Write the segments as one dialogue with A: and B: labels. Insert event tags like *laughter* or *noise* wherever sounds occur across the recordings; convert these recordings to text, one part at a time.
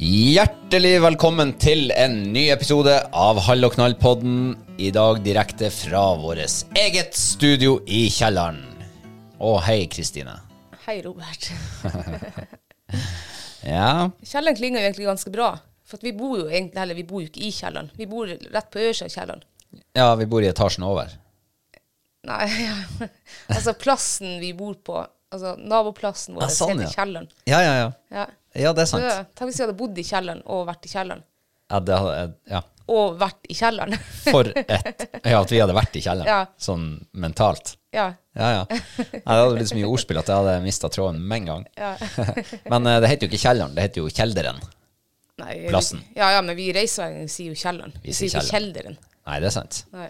A: Hjertelig velkommen til en ny episode av Hall og knall-podden. I dag direkte fra vårt eget studio i kjelleren. Og hei, Kristine.
B: Hei, Robert.
A: Ja,
B: Kjelleren klinger jo egentlig ganske bra. For at vi bor jo egentlig heller, vi bor jo ikke i kjelleren. Vi bor rett på øverste av kjelleren.
A: ja vi bor i etasjen over.
B: Nei, *laughs* ja. altså plassen vi bor på, altså naboplassen vår,
A: Ja, sånn,
B: heter
A: ja.
B: kjelleren.
A: Ja, ja, ja.
B: Ja.
A: Ja, det er
B: Så,
A: sant.
B: ja, tenk hvis vi hadde bodd i kjelleren og vært i kjelleren.
A: Ja, det hadde, ja.
B: Og vært i kjelleren. *laughs*
A: For et Ja, at vi hadde vært i kjelleren,
B: Ja.
A: sånn mentalt.
B: ja.
A: Ja, ja. ja. Det hadde blitt så mye ordspill at jeg hadde mista tråden med en gang. *laughs* Men eh, det heter jo ikke kjelleren, det heter jo kjelderen.
B: Nei,
A: Plassen.
B: Vi, ja, ja, men vi i Reisevegen sier jo kjelleren. Vi,
A: sier
B: sier ikke kjelderen.
A: Nei, det er sant.
B: Nei.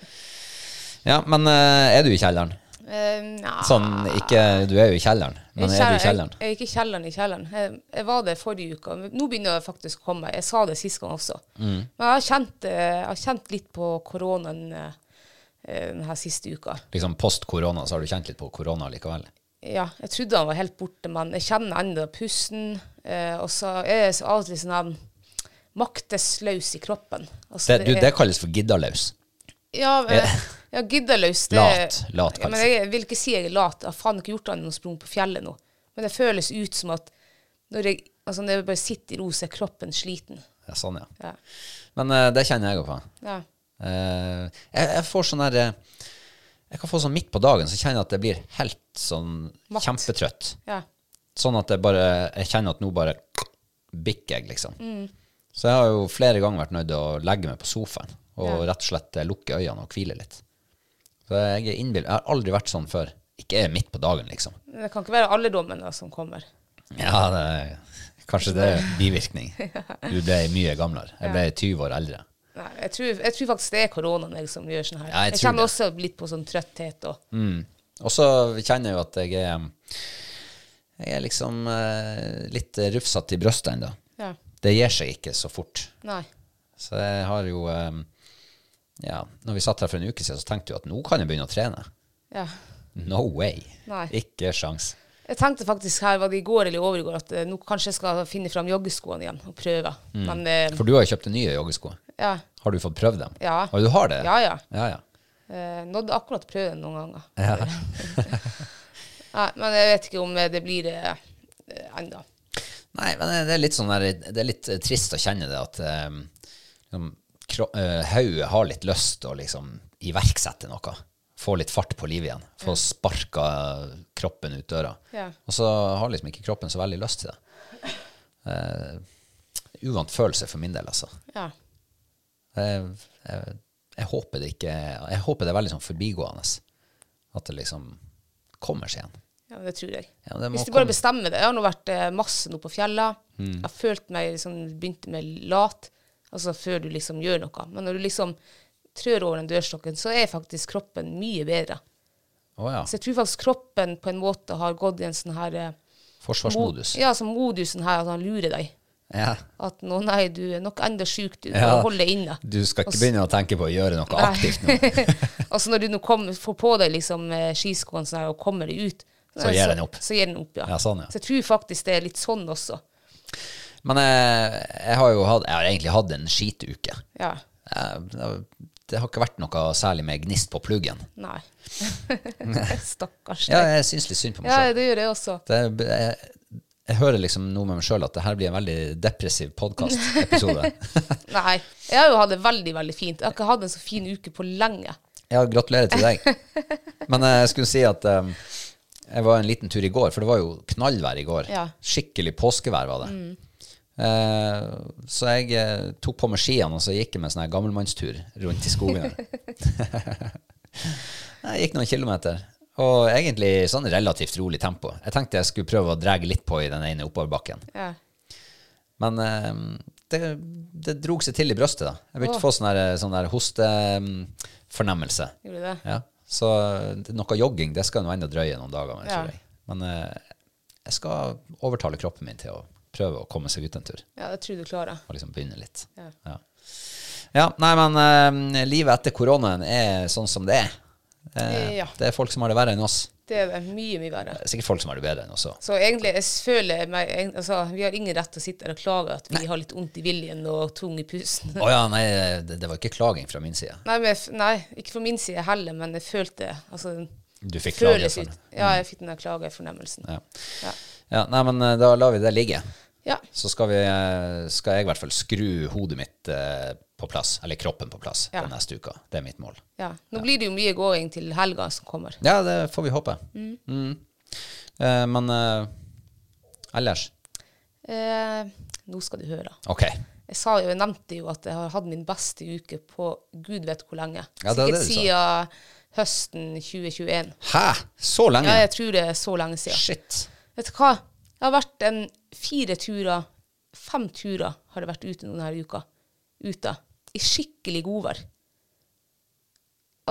A: Ja, men eh, er du i kjelleren?
B: Eh, nja.
A: Sånn, ikke Du er jo i kjelleren, men er du i kjelleren?
B: Jeg, jeg er ikke i kjelleren i kjelleren. Jeg, jeg var det forrige uka. men Nå begynner det faktisk å komme. meg. Jeg sa det sist gang også.
A: Mm.
B: Men jeg har kjent, eh, jeg har kjent litt på koronaen eh, eh, denne siste uka.
A: Liksom post korona, så har du kjent litt på korona likevel?
B: Ja, jeg trodde han var helt borte, men jeg kjenner ennå pusten. Eh, og så er jeg så av og til sånn her maktesløs i kroppen. Altså,
A: Det, du,
B: er-
A: det kalles for giddaløs.
B: Ja, men- ja giddeløs. Det,
A: Eh, Lat. Lat,
B: ja, men
A: kalles det.
B: jeg vil ikke si jeg er lat. Jeg har faen ikke gjort annet enn å sprunge på fjellet nå. Men det føles ut som at når jeg, altså når jeg bare sitter i ro, så er kroppen sliten.
A: Ja, sånn, ja.
B: Ja.
A: Men eh, det kjenner jeg òg på.
B: Ja.
A: Eh, jeg, jeg får sånn her eh, Jeg kan få sånn midt på dagen, så kjenner jeg at jeg blir helt sånn
B: Matt.
A: kjempetrøtt.
B: ja.
A: Sånn at jeg bare Jeg kjenner at nå bare bikker jeg, liksom. Så jeg har jo flere ganger vært nødt til å legge meg på sofaen og rett og slett eh, lukke øynene og hvile litt. Så jeg er innbill... Jeg har aldri vært sånn før. Ikke midt på dagen, liksom.
B: Men det kan ikke være alderdommen da, som kommer.
A: Ja, det er, kanskje det er bivirkning. Du ble mye gamlere. Jeg ble 20 år eldre.
B: Nei, jeg, tror, jeg tror faktisk det er koronaen jeg som gjør sånn her.
A: Ja, jeg tror
B: kjenner
A: det.
B: også litt på sånn trøtthet. Og,
A: Mm. Og så kjenner jeg jo at jeg er Jeg er liksom eh, litt rufsete i brystet ennå.
B: ja.
A: Det gir seg ikke så fort.
B: Nei.
A: Så jeg har jo eh, Ja, når vi satt her for en uke siden, så tenkte jeg at nå kan jeg begynne å trene.
B: Ja.
A: No way.
B: Nei.
A: Ikke sjans.
B: Jeg tenkte faktisk her, var det i går eller i overgår, at eh, nå kanskje jeg skal finne fram joggeskoene igjen og prøve. Men eh,
A: Mm. For du har jo kjøpt nye joggesko.
B: ja.
A: Har du fått prøvd dem?
B: Ja.
A: Og du har det?
B: Ja, ja.
A: ja, ja.
B: Eh, nådde akkurat prøven *laughs* noen ganger. Nei, men jeg vet ikke om eh, det blir eh, ennå.
A: Nei, men det er litt sånn der, det er litt eh, trist å kjenne det at eh, liksom, kro- eh, hodet har litt lyst til å liksom iverksette noe. Få litt fart på livet igjen. Få sparka kroppen ut døra.
B: Ja.
A: Og så har liksom ikke kroppen så veldig lyst til det. Eh, uvant følelse for min del, altså.
B: Ja.
A: Jeg, jeg, jeg håper det ikke Jeg håper det er veldig sånn forbigående. At det liksom kommer seg igjen.
B: ja, men det tror jeg.
A: Ja, det må
B: Hvis du
A: komme. Mm.
B: bare bestemmer det. Jeg har nå vært eh, masse nå på fjellet. Jeg har følt meg liksom, begynte med lat, altså før du liksom gjør noe. Men når du liksom trør over den dørstokken, så er faktisk kroppen mye bedre.
A: Å ja.
B: Så jeg tror faktisk kroppen på en måte har gått i en sånn her eh,
A: Forsvarsmodus.
B: Mo ja, sånn modusen her, at han lurer deg.
A: Ja.
B: At nå, nei, du er nok enda sjuk, du.
A: Ja.
B: Du holder inne.
A: Du skal
B: Og
A: ikke
B: s-
A: begynne å tenke på å gjøre noe
B: Nei.
A: aktivt
B: *laughs*
A: nå.
B: Og så Altså, når du nå kommer, får på deg liksom eh, skiskoene sånn her, og kommer deg ut,
A: Så gir den opp.
B: Så gir den opp, ja.
A: Ja, sånn, ja.
B: Så jeg tror faktisk det er litt sånn også.
A: Men jeg, jeg har jo hatt, jeg har egentlig hatt en skituke.
B: Ja.
A: Jeg- jeg- Det har ikke vært noe særlig med gnist på pluggen.
B: Nei. *laughs* Stakkars deg.
A: Ja, jeg syns litt synd på meg
B: Ja,
A: sjøl.
B: det gjør jeg også.
A: Det, jeg, jeg hører liksom noe med meg sjøl at det her blir en veldig depressiv
B: *laughs*
A: podkastepisode.
B: Nei. Jeg har jo hatt det veldig, veldig fint. Jeg har ikke hatt en så fin uke på lenge.
A: Ja, gratulerer til deg. Men eh, jeg skulle si at eh, jeg var en liten tur i går, for det var jo knallvær i går.
B: Ja.
A: Skikkelig påskevær var det. Eh, så jeg eh, tok på meg skiene, og så gikk jeg med sånn her gammelmannstur rundt i skogen. *laughs* jeg gikk noen kilometer, og egentlig i sånn relativt rolig tempo. Jeg tenkte jeg skulle prøve å dra litt på i den ene oppoverbakken.
B: Ja.
A: Men eh, det, det drog seg til i brøstet. da. Jeg begynte å få sånn der, sånn der hostefornemmelse.
B: Gjorde det?
A: Ja. Så det- noe jogging det skal nå enda drøye noen dager. Men, jeg
B: Ja.
A: tror jeg. men eh, jeg skal overtale kroppen min til å prøve å komme seg ut en tur.
B: Ja, det tror jeg du klarer.
A: Og liksom begynne litt.
B: Ja.
A: Ja, Ja, Nei, men eh, livet etter koronaen er sånn som det er. Eh,
B: Ja.
A: Det er folk som har det verre enn oss.
B: Det er det. Mye, mye verre.
A: Det er Sikkert folk som har det bedre enn oss òg.
B: Så egentlig, jeg føler meg egent- altså, Vi har ingen rett til å sitte her og klage at vi har litt vondt i viljen og tung i pusten.
A: Å ja, nei, det, det var ikke klaging fra min side.
B: Nei, men, jeg f- nei, ikke fra min side heller, men jeg følte altså,
A: Du fikk
B: føles
A: klage for
B: ut.
A: det. Mm.
B: Ja, jeg fikk den der klagefornemmelsen.
A: Ja.
B: Ja.
A: Ja, nei, men eh, da lar vi det ligge.
B: Ja.
A: Så skal, vi, eh, skal jeg i hvert fall skru hodet mitt eh, på plass, eller kroppen på plass,
B: Ja.
A: den neste uka. Det er mitt mål.
B: ja. Nå blir det jo mye gåing til helga som kommer.
A: Ja, det får vi håpe. Mm. Eh, men eh, ellers
B: Eh, nå skal du høre.
A: OK.
B: Jeg, sa jo, jeg nevnte jo at jeg har hatt min beste uke på gud vet hvor lenge.
A: Ja, det er
B: Sikkert
A: det du sa.
B: siden høsten 2021.
A: Hæ? Så lenge?
B: Ja, jeg tror det er så lenge siden.
A: Mm. Shit.
B: Vet du hva? Det har vært en fire turer, fem turer har det vært ute nå denne uka. Ute. I skikkelig godvær.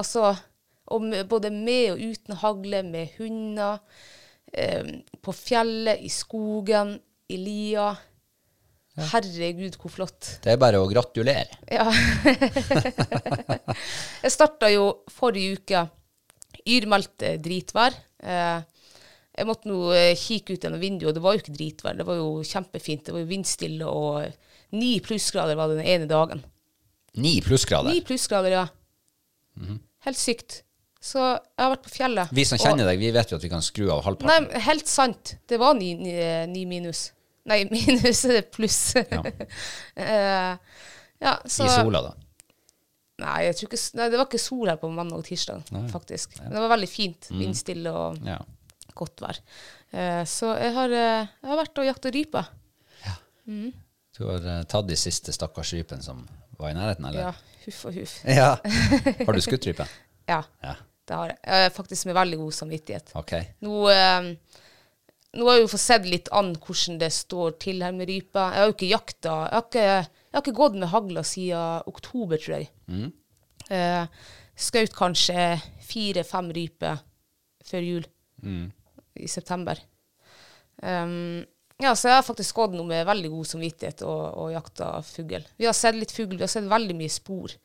B: Altså, og med, både med og uten hagle, med hunder, eh, på fjellet, i skogen, i lia. Herregud, hvor flott.
A: Det er bare å gratulere.
B: Ja. *laughs* jeg starta jo forrige uke. Yrmeldt eh, dritvær. Eh, jeg måtte nå eh, kikke ut gjennom vinduet, og det var jo ikke dritvær. Det var jo kjempefint. Det var jo vindstille, og eh, ni plussgrader var det den ene dagen.
A: Ni plussgrader.
B: Ni plussgrader, ja. Helt sykt. Så jeg har vært på fjellet.
A: Mhm. Vi som kjenner deg, vi vet jo at vi kan skru av halvparten.
B: Nei, men helt sant. Det var ni, ni, ni minus. Nei, *laughs* minus eh, pluss.
A: Ja.
B: *laughs* Eh, ja, så,
A: I sola, da.
B: Nei, jeg tror ikke, s- nei, det var ikke sol her på mandag og tirsdag, faktisk. Men det var veldig fint. Vindstille og
A: Ja.
B: godt vær. Eh, så jeg har, eh, jeg har vært og jakta rype.
A: Du har eh, tatt de siste stakkars rypene som var i nærheten,
B: Ja,
A: eller?
B: huff og huff. *laughs*
A: Ja. Har du skutt rype?
B: Ja,
A: Ja.
B: det har jeg. Eh, faktisk med veldig god samvittighet.
A: OK.
B: Nå, eh, nå har jeg jo fått sett litt an hvordan det står til her med rype. Jeg har jo ikke jakta Jeg har ikke, jeg har ikke gått med hagla siden oktober, tror jeg. Eh, Skaut kanskje fire-fem ryper før jul i september. Um, ja, så jeg har faktisk gått nå med veldig god samvittighet og, og jakta fugl. Vi har sett litt fugl, vi har sett veldig mye spor.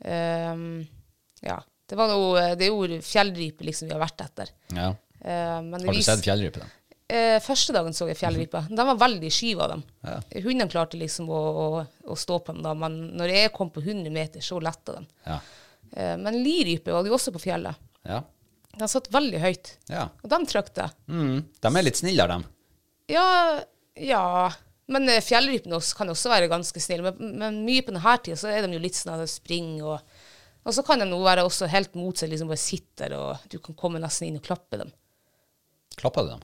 B: Um, ja. Det, var noe, eh, det er jo fjellrype liksom vi har vært etter.
A: Ja.
B: Eh, men det
A: Har du
B: viser-
A: sett fjellrype, da?
B: Eh, første dagen så jeg fjellrypa. De var veldig skyve av dem.
A: Ja.
B: Hundene klarte liksom å, å, å stå på dem, da, men når jeg kom på 100 meter, så letta de.
A: Ja.
B: Eh, men lirype var det jo også på fjellet.
A: Ja.
B: De satt veldig høyt,
A: ja.
B: og de trykte.
A: Mm. De er litt snillere, de.
B: Ja, ja. Men eh, fjellrypene også- kan også være ganske snille. Men, men mye på denne tida så er de jo litt sånn at de springer og Og så kan de jo være også helt motsatt, liksom bare sitter der, og du kan komme nesten inn og klappe dem.
A: Klappa du dem?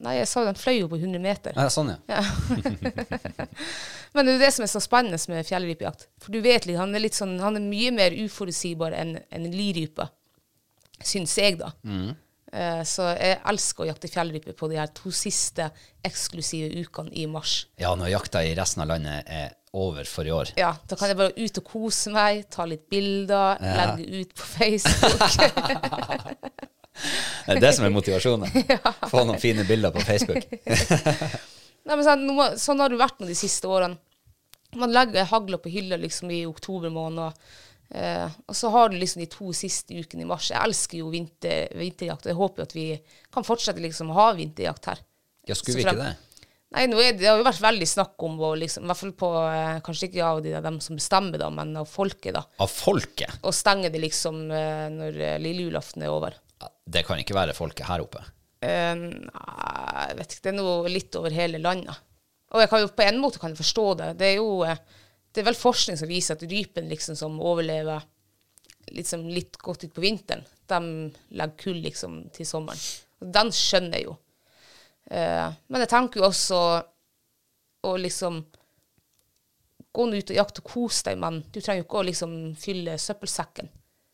B: Nei, jeg sa jo de fløy jo på 100 meter.
A: Nei, sånn, ja.
B: Men det er jo det som er så spennende med fjellrypejakt. For du vet litt, han er litt sånn, han er mye mer uforutsigbar enn enn en lirype, syns jeg, da. Eh, så jeg elsker å jakte fjellrype på de her to siste eksklusive ukene i mars.
A: Ja, når jakta i resten av landet er over for i år.
B: Ja, da kan jeg bare ut og kose meg, ta litt bilder, legge ut på Facebook.
A: Det er det som er motivasjonen. Få noen fine bilder på Facebook.
B: Nei, men sånn, nå må- sånn har det vært nå de siste årene. Man legger hagla på hylla liksom i oktober måned, og, eh, og så har du liksom de to siste ukene i mars. Jeg elsker jo vinter, vinterjakt, og jeg håper jo at vi kan fortsette liksom å ha vinterjakt her.
A: Ja, skulle
B: Så
A: vi ikke
B: frem-
A: det?
B: Nei, nå er det, det har jo vært veldig snakk om, og liksom, i hvert fall på, eh, kanskje ikke av de, dem som bestemmer da, men av folket da,
A: Av folket?
B: og stenge det liksom eh, når eh, lille julaften er over.
A: Ja, Det kan ikke være folket her oppe.
B: Eh, nei, jeg vet ikke, det er noe litt over hele landet. Og jeg kan jo på en måte kan jeg forstå det. Det er jo eh, det er vel forskning som viser at rypen liksom som overlever liksom litt godt ut på vinteren, de legger kull liksom til sommeren. Og den skjønner jeg jo. Eh, men jeg tenker jo også å liksom gå nå ut og jakte og kose deg, men du trenger jo ikke å liksom fylle søppelsekken.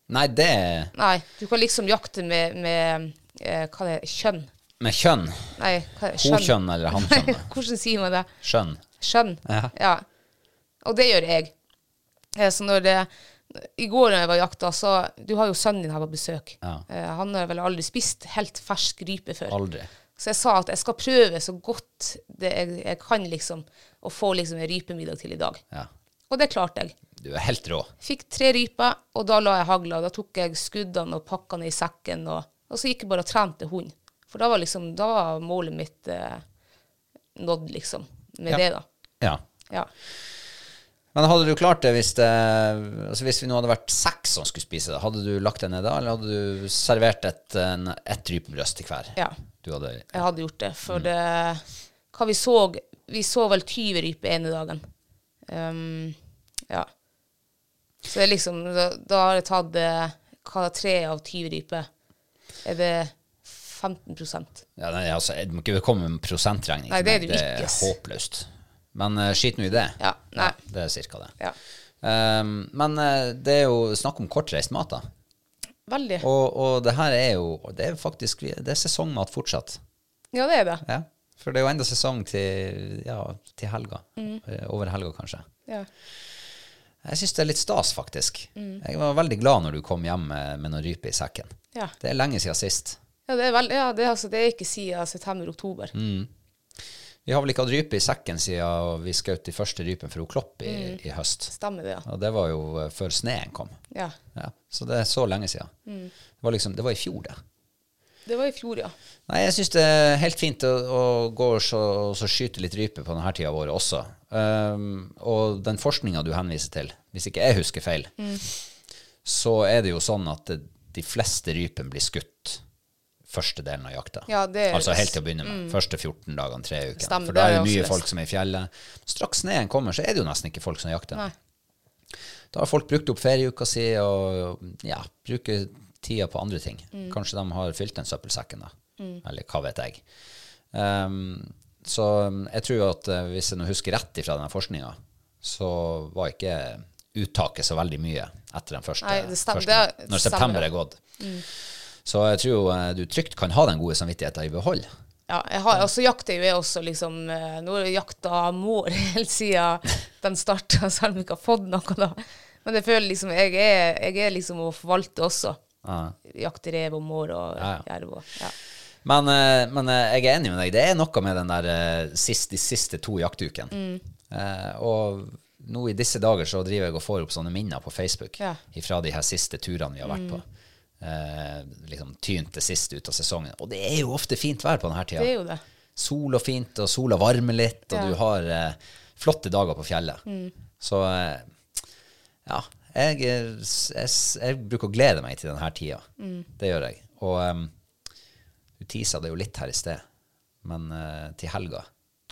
A: Nei, det er
B: Nei, du kan liksom jakte med, med eh, hva det er, kjønn.
A: med kjønn.
B: Nei, hva, skjønn.
A: Hokjønn eller hankjønn?
B: *laughs* Hvordan sier man det?
A: Skjønn.
B: Skjønn.
A: Ja.
B: Og det gjør jeg. Eh, Så når det, I går da jeg var i jakta, så Du har jo sønnen din her på besøk.
A: Ja.
B: Eh, Han har vel aldri spist helt fersk rype før.
A: Aldri.
B: Så jeg sa at jeg skal prøve så godt det jeg, jeg kan liksom, å få liksom en rypemiddag til i dag.
A: Ja.
B: Og det klarte jeg.
A: Du er helt rå.
B: Fikk tre ryper, og da la jeg hagla. Da tok jeg skuddene og pakka ned i sekken, og, og så gikk jeg bare og trente hund. For da var liksom, da var målet mitt eh, nådd, liksom,
A: Ja.
B: med det, da.
A: Ja.
B: Ja.
A: Men hadde du klart det hvis det Altså hvis vi nå hadde vært seks som skulle spise det, hadde du lagt deg ned da, eller hadde du servert et, en, et rypebrøst til hver?
B: ja,
A: Du hadde
B: jeg hadde gjort det.
A: Mm.
B: For det Hva vi så Vi så vel 20 ryper ene dagen. Um, ja. Så det er liksom Da, da har jeg tatt eh, hva er det, tre av 20 ryper. Er det 15
A: ja, nei, altså, Jeg må ikke komme med prosentregning.
B: Nei,
A: til
B: det er
A: meg.
B: du ikke,
A: Det
B: ass.
A: er håpløst. Men uh, skit nå i det.
B: Ja, nei.
A: det er cirka det.
B: Ja.
A: Ehm, men eh, det er jo snakk om kortreist mat, da.
B: Veldig.
A: Og, og det her er jo Det er faktisk det er sesongmat fortsatt.
B: Ja, det er det.
A: Ja. For det er jo enda sesong til, ja, til helga.
B: Mm.
A: Eh, Over helga, kanskje.
B: Ja.
A: Jeg syns det er litt stas, faktisk. Jeg var veldig glad når du kom hjem med, med noen rype i sekken.
B: Ja.
A: Det er lenge siden sist.
B: Ja, det er, vel, ja, det, er altså, det er ikke siden september-oktober.
A: Mm. Vi har vel ikke hatt rype i sekken siden vi skjøt de første rypene for hun Klopp i, i høst.
B: Stemmer det, ja.
A: Og det var jo eh, før sneen kom.
B: ja.
A: Ja. Så det er så lenge siden. Det, var liksom, det var i fjor, det.
B: Det var i fjor, ja.
A: Nei, jeg syns det er helt fint å, å gå og så, og så skyte litt rype på denne tida av året også. Um, og den forskninga du henviser til, hvis ikke jeg husker feil, så er det jo sånn at det, de fleste rypene blir skutt første delen av jakta.
B: Ja, det er- mm.
A: altså helt til å begynne med. Første 14 dagene, tre ukene.
B: Stemmer,
A: For da
B: det
A: er
B: har
A: det
B: jeg
A: mye
B: også
A: folk
B: lest.
A: som er i fjellet. Straks sneen kommer, så er det jo nesten ikke folk som jakter.
B: Nei.
A: Da har folk brukt opp ferieuka si og ja, bruker tida på andre ting.
B: Mm.
A: Kanskje de har fylt den søppelsekken, da. Eller hva vet jeg. Ehm, så jeg tror at eh, hvis jeg nå husker rett ifra denne forskninga, så var ikke uttaket så veldig mye etter den første,
B: Nei, det stem-
A: første
B: det Mm. er-
A: når
B: stemmer.
A: september er gått. Så jeg tror eh, du trygt kan ha den gode samvittigheten i behold.
B: ja jeg har, og så jakter jo jeg også liksom eh, Nå har jeg jakta mår *laughs* helt siden den starta, *laughs* selv om jeg ikke har fått noe da. Men jeg føler liksom Jeg er, jeg er liksom å forvalte også.
A: Ja.
B: Jakte rev og mår og
A: Ja, ja.
B: jerv og ja.
A: Men, eh, men eh, jeg er enig med deg. Det er noe med den der eh, sist, de siste to jaktukene.
B: Mm.
A: Eh, og nå i disse dager så driver jeg og får opp sånne minner på Facebook
B: Ja. Mm.
A: fra de her siste turene vi har vært på. Eh, liksom tynt det siste ut av sesongen. Og det er jo ofte fint vær på denne tida.
B: Det er jo det.
A: Sol og fint, og sola varmer litt, og
B: Ja.
A: du har eh, flotte dager på fjellet. Så eh, ja, jeg, er- jeg, jeg bruker å glede meg eh, til denne tida. Det gjør jeg. Og em, du tisa det jo litt her i sted, Men eh, til helga,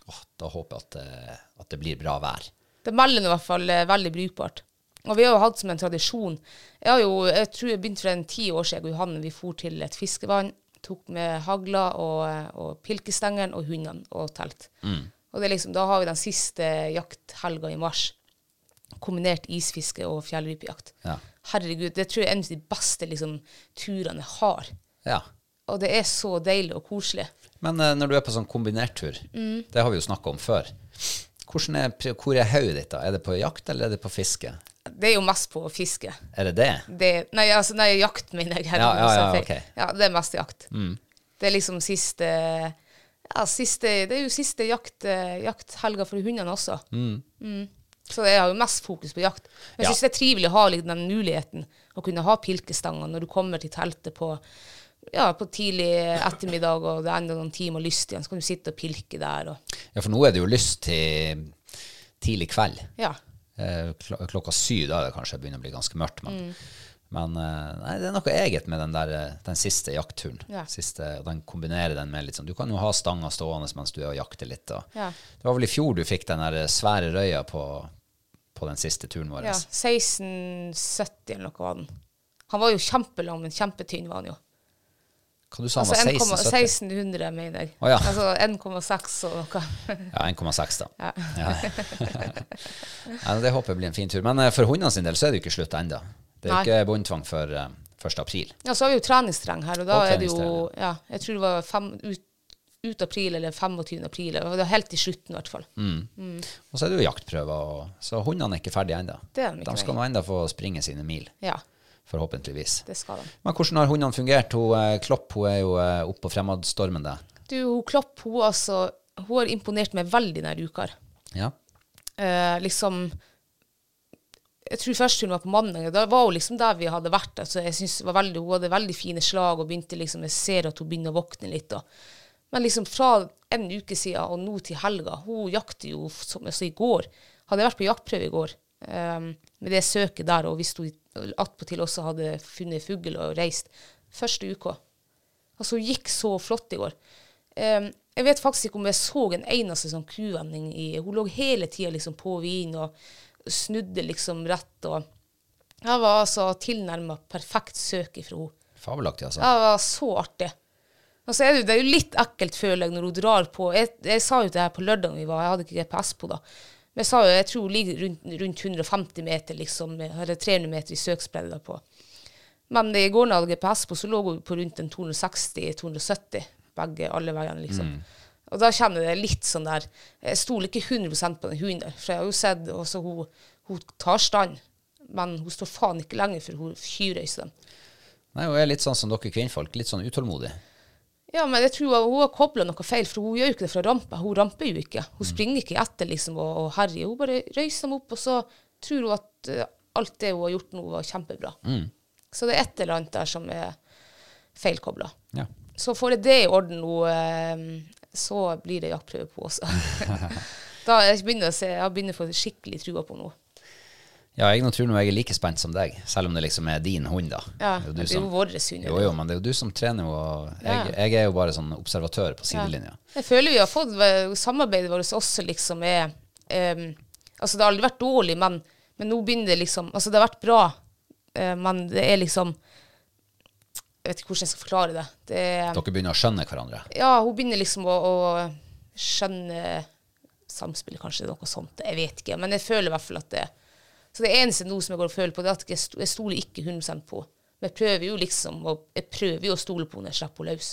A: åh, da håper jeg at, eh, at det blir bra vær.
B: Det melder nå i hvert fall eh, veldig brukbart. Og vi har jo hatt som en tradisjon Jeg har jo, jeg tror jeg begynte for en ti år siden, jeg og Johanne, vi for til et fiskevann, tok med hagla og, eh, og pilkestengeren og hundene og telt. Og det er liksom, da har vi den siste jakthelga i mars. Kombinert isfiske og fjellrypejakt.
A: Ja.
B: Herregud, det tror jeg er en av de beste liksom, turene jeg har.
A: Ja.
B: Og det er så deilig og koselig.
A: Men eh, når du er på sånn kombinerttur, det har vi jo snakka om før. Hvordan er, pri- hvor er hodet ditt da? Er det på jakt, eller er det på fiske?
B: Det er jo mest på fiske.
A: Er det det?
B: det, nei, altså, nei, jakt mener jeg.
A: Ja, ja, ja,
B: Sa jeg
A: ok. Mm.
B: feil. ja, det er mest jakt. Det er liksom siste Ja, siste Det er jo siste jakt, eh, jakthelga for hundene også. Mm. Så jeg har jo mest fokus på jakt. Men jeg
A: Ja.
B: syns det er trivelig å ha liksom, den muligheten å kunne ha pilkestanger når du kommer til teltet på ja, på tidlig ettermiddag, og det er enda noen timer lyst igjen, så kan du sitte og pilke der. Og,
A: Ja, for nå er det jo lyst til tidlig kveld.
B: ja.
A: Eh, kl- Klokka syv, da er det kanskje begynner å bli ganske mørkt. Men,
B: Mm.
A: men eh, nei, det er noe eget med den, der, eh, den siste jaktturen.
B: Ja.
A: Siste, og den kombinerer den med litt sånn Du kan jo ha stanga stående mens du er og jakter litt. Og.
B: Ja.
A: Det var vel i fjor du fikk den der eh, svære røya på, på den siste turen vår.
B: ja 1670 eller noe var den. Han var jo kjempelang, men kjempetynn var han jo.
A: Hva du sa han
B: Altså
A: var
B: 1,-
A: 1670?
B: 1600, mener jeg.
A: Å, ja.
B: Altså 1,6 og noe.
A: Ja, 1,6 da.
B: Ja.
A: *laughs* Nei, det håper jeg blir en fin tur. Men eh, for hundene sin del så er det jo ikke slutt ennå. Det er jo
B: Nei.
A: ikke båndtvang før eh, 1. april.
B: Ja, så har vi jo treningsterreng her, og da
A: Og
B: er det jo
A: treningsterreng,
B: ja, Jeg tror det var fem, ut, ut april eller 25. april. og Det var helt i slutten, i hvert fall.
A: Mm. Og så er det jo jaktprøver, og, så hundene er ikke ferdige ennå.
B: Det er de ikke,
A: De skal nå
B: nei.
A: ennå få springe sine mil,
B: Ja,
A: forhåpentligvis.
B: det skal de.
A: Men hvordan har hundene fungert? Hun, eh, Klopp hun er jo eh, oppe på fremadstormen der.
B: Du, hun Klopp hun, altså, hun har imponert meg veldig denne uka. her.
A: Ja.
B: Eh, liksom Jeg tror først hun var på mandag. og Da var hun liksom der vi hadde vært. Altså, jeg synes det var veldig, Hun hadde veldig fine slag og begynte liksom, jeg ser at hun begynner å våkne litt. Og. Men liksom fra en uke siden og nå til helga Hun jakter jo som altså, i går. Hadde jeg vært på jaktprøve i går eh, med det søket der, og hvis hun attpåtil også hadde funnet fugl og reist Første uka. Altså, hun gikk så flott i går. Ehm, jeg vet faktisk ikke om jeg så en eneste sånn kuvending i Hun lå hele tida liksom på vin og snudde liksom rett og Jeg var altså tilnærma perfekt søk ifra henne.
A: Fabelaktig, altså.
B: Det var så artig. Og så er det, jo- det er jo litt ekkelt, føler jeg, når hun drar på Jeg, jeg sa jo det her på lørdag vi var, jeg hadde ikke GPS på da. Men jeg sa jo, jeg tror hun ligger rundt, rundt 150 meter, liksom, eller 300 meter i søksbredde da på. Men i går når jeg hadde GPS på, så lå hun på rundt en 260-270, begge, alle veiene, liksom. Og da kjenner jeg litt sånn der Jeg stoler ikke 100 på den hunden der, for jeg har jo sett også hun, hun tar stand, men hun står faen ikke lenger, for hun tjuvreiser den.
A: Nei, hun er litt sånn som dere kvinnfolk, litt sånn utålmodig.
B: Ja, men jeg tror hun- hun har kobla noe feil, for hun gjør jo ikke det fra rampa. Hun ramper jo ikke. Hun
A: Mm.
B: springer ikke etter liksom, og, og herjer. Hun bare røyser dem opp, og så tror hun at eh, alt det hun har gjort nå, var kjempebra.
A: Mm.
B: Så det er et eller annet der som er feilkobla.
A: Ja.
B: Så får jeg det i orden nå, eh, så blir det jaktprøve på også.
A: *laughs*
B: da jeg begynner jeg å se, jeg begynner å få skikkelig trua på noe.
A: Ja, jeg nå tror nå jeg er like spent som deg, selv om det liksom er din hund, da.
B: Ja,
A: Det er jo du
B: det er jo
A: som-
B: vår hund.
A: Jo, jo, men det er jo du som trener henne, og jeg,
B: Ja.
A: jeg er jo bare sånn observatør på sidelinja.
B: Jeg føler vi har fått eh, samarbeidet vårt også liksom er ehm, Altså, det har aldri vært dårlig, men, men nå begynner det liksom Altså, det har vært bra, eh, men det er liksom Jeg vet ikke hvordan jeg skal forklare det. det er,
A: Dere begynner å skjønne hverandre.
B: ja, hun begynner liksom å, å skjønne samspillet, kanskje noe sånt. Jeg vet ikke, men jeg føler i hvert fall at det Så det eneste nå som jeg går og føler på, det er at jeg sto- jeg stoler ikke 100 på henne. Men jeg prøver jo liksom å, jeg prøver jo å stole på henne når jeg slipper henne løs.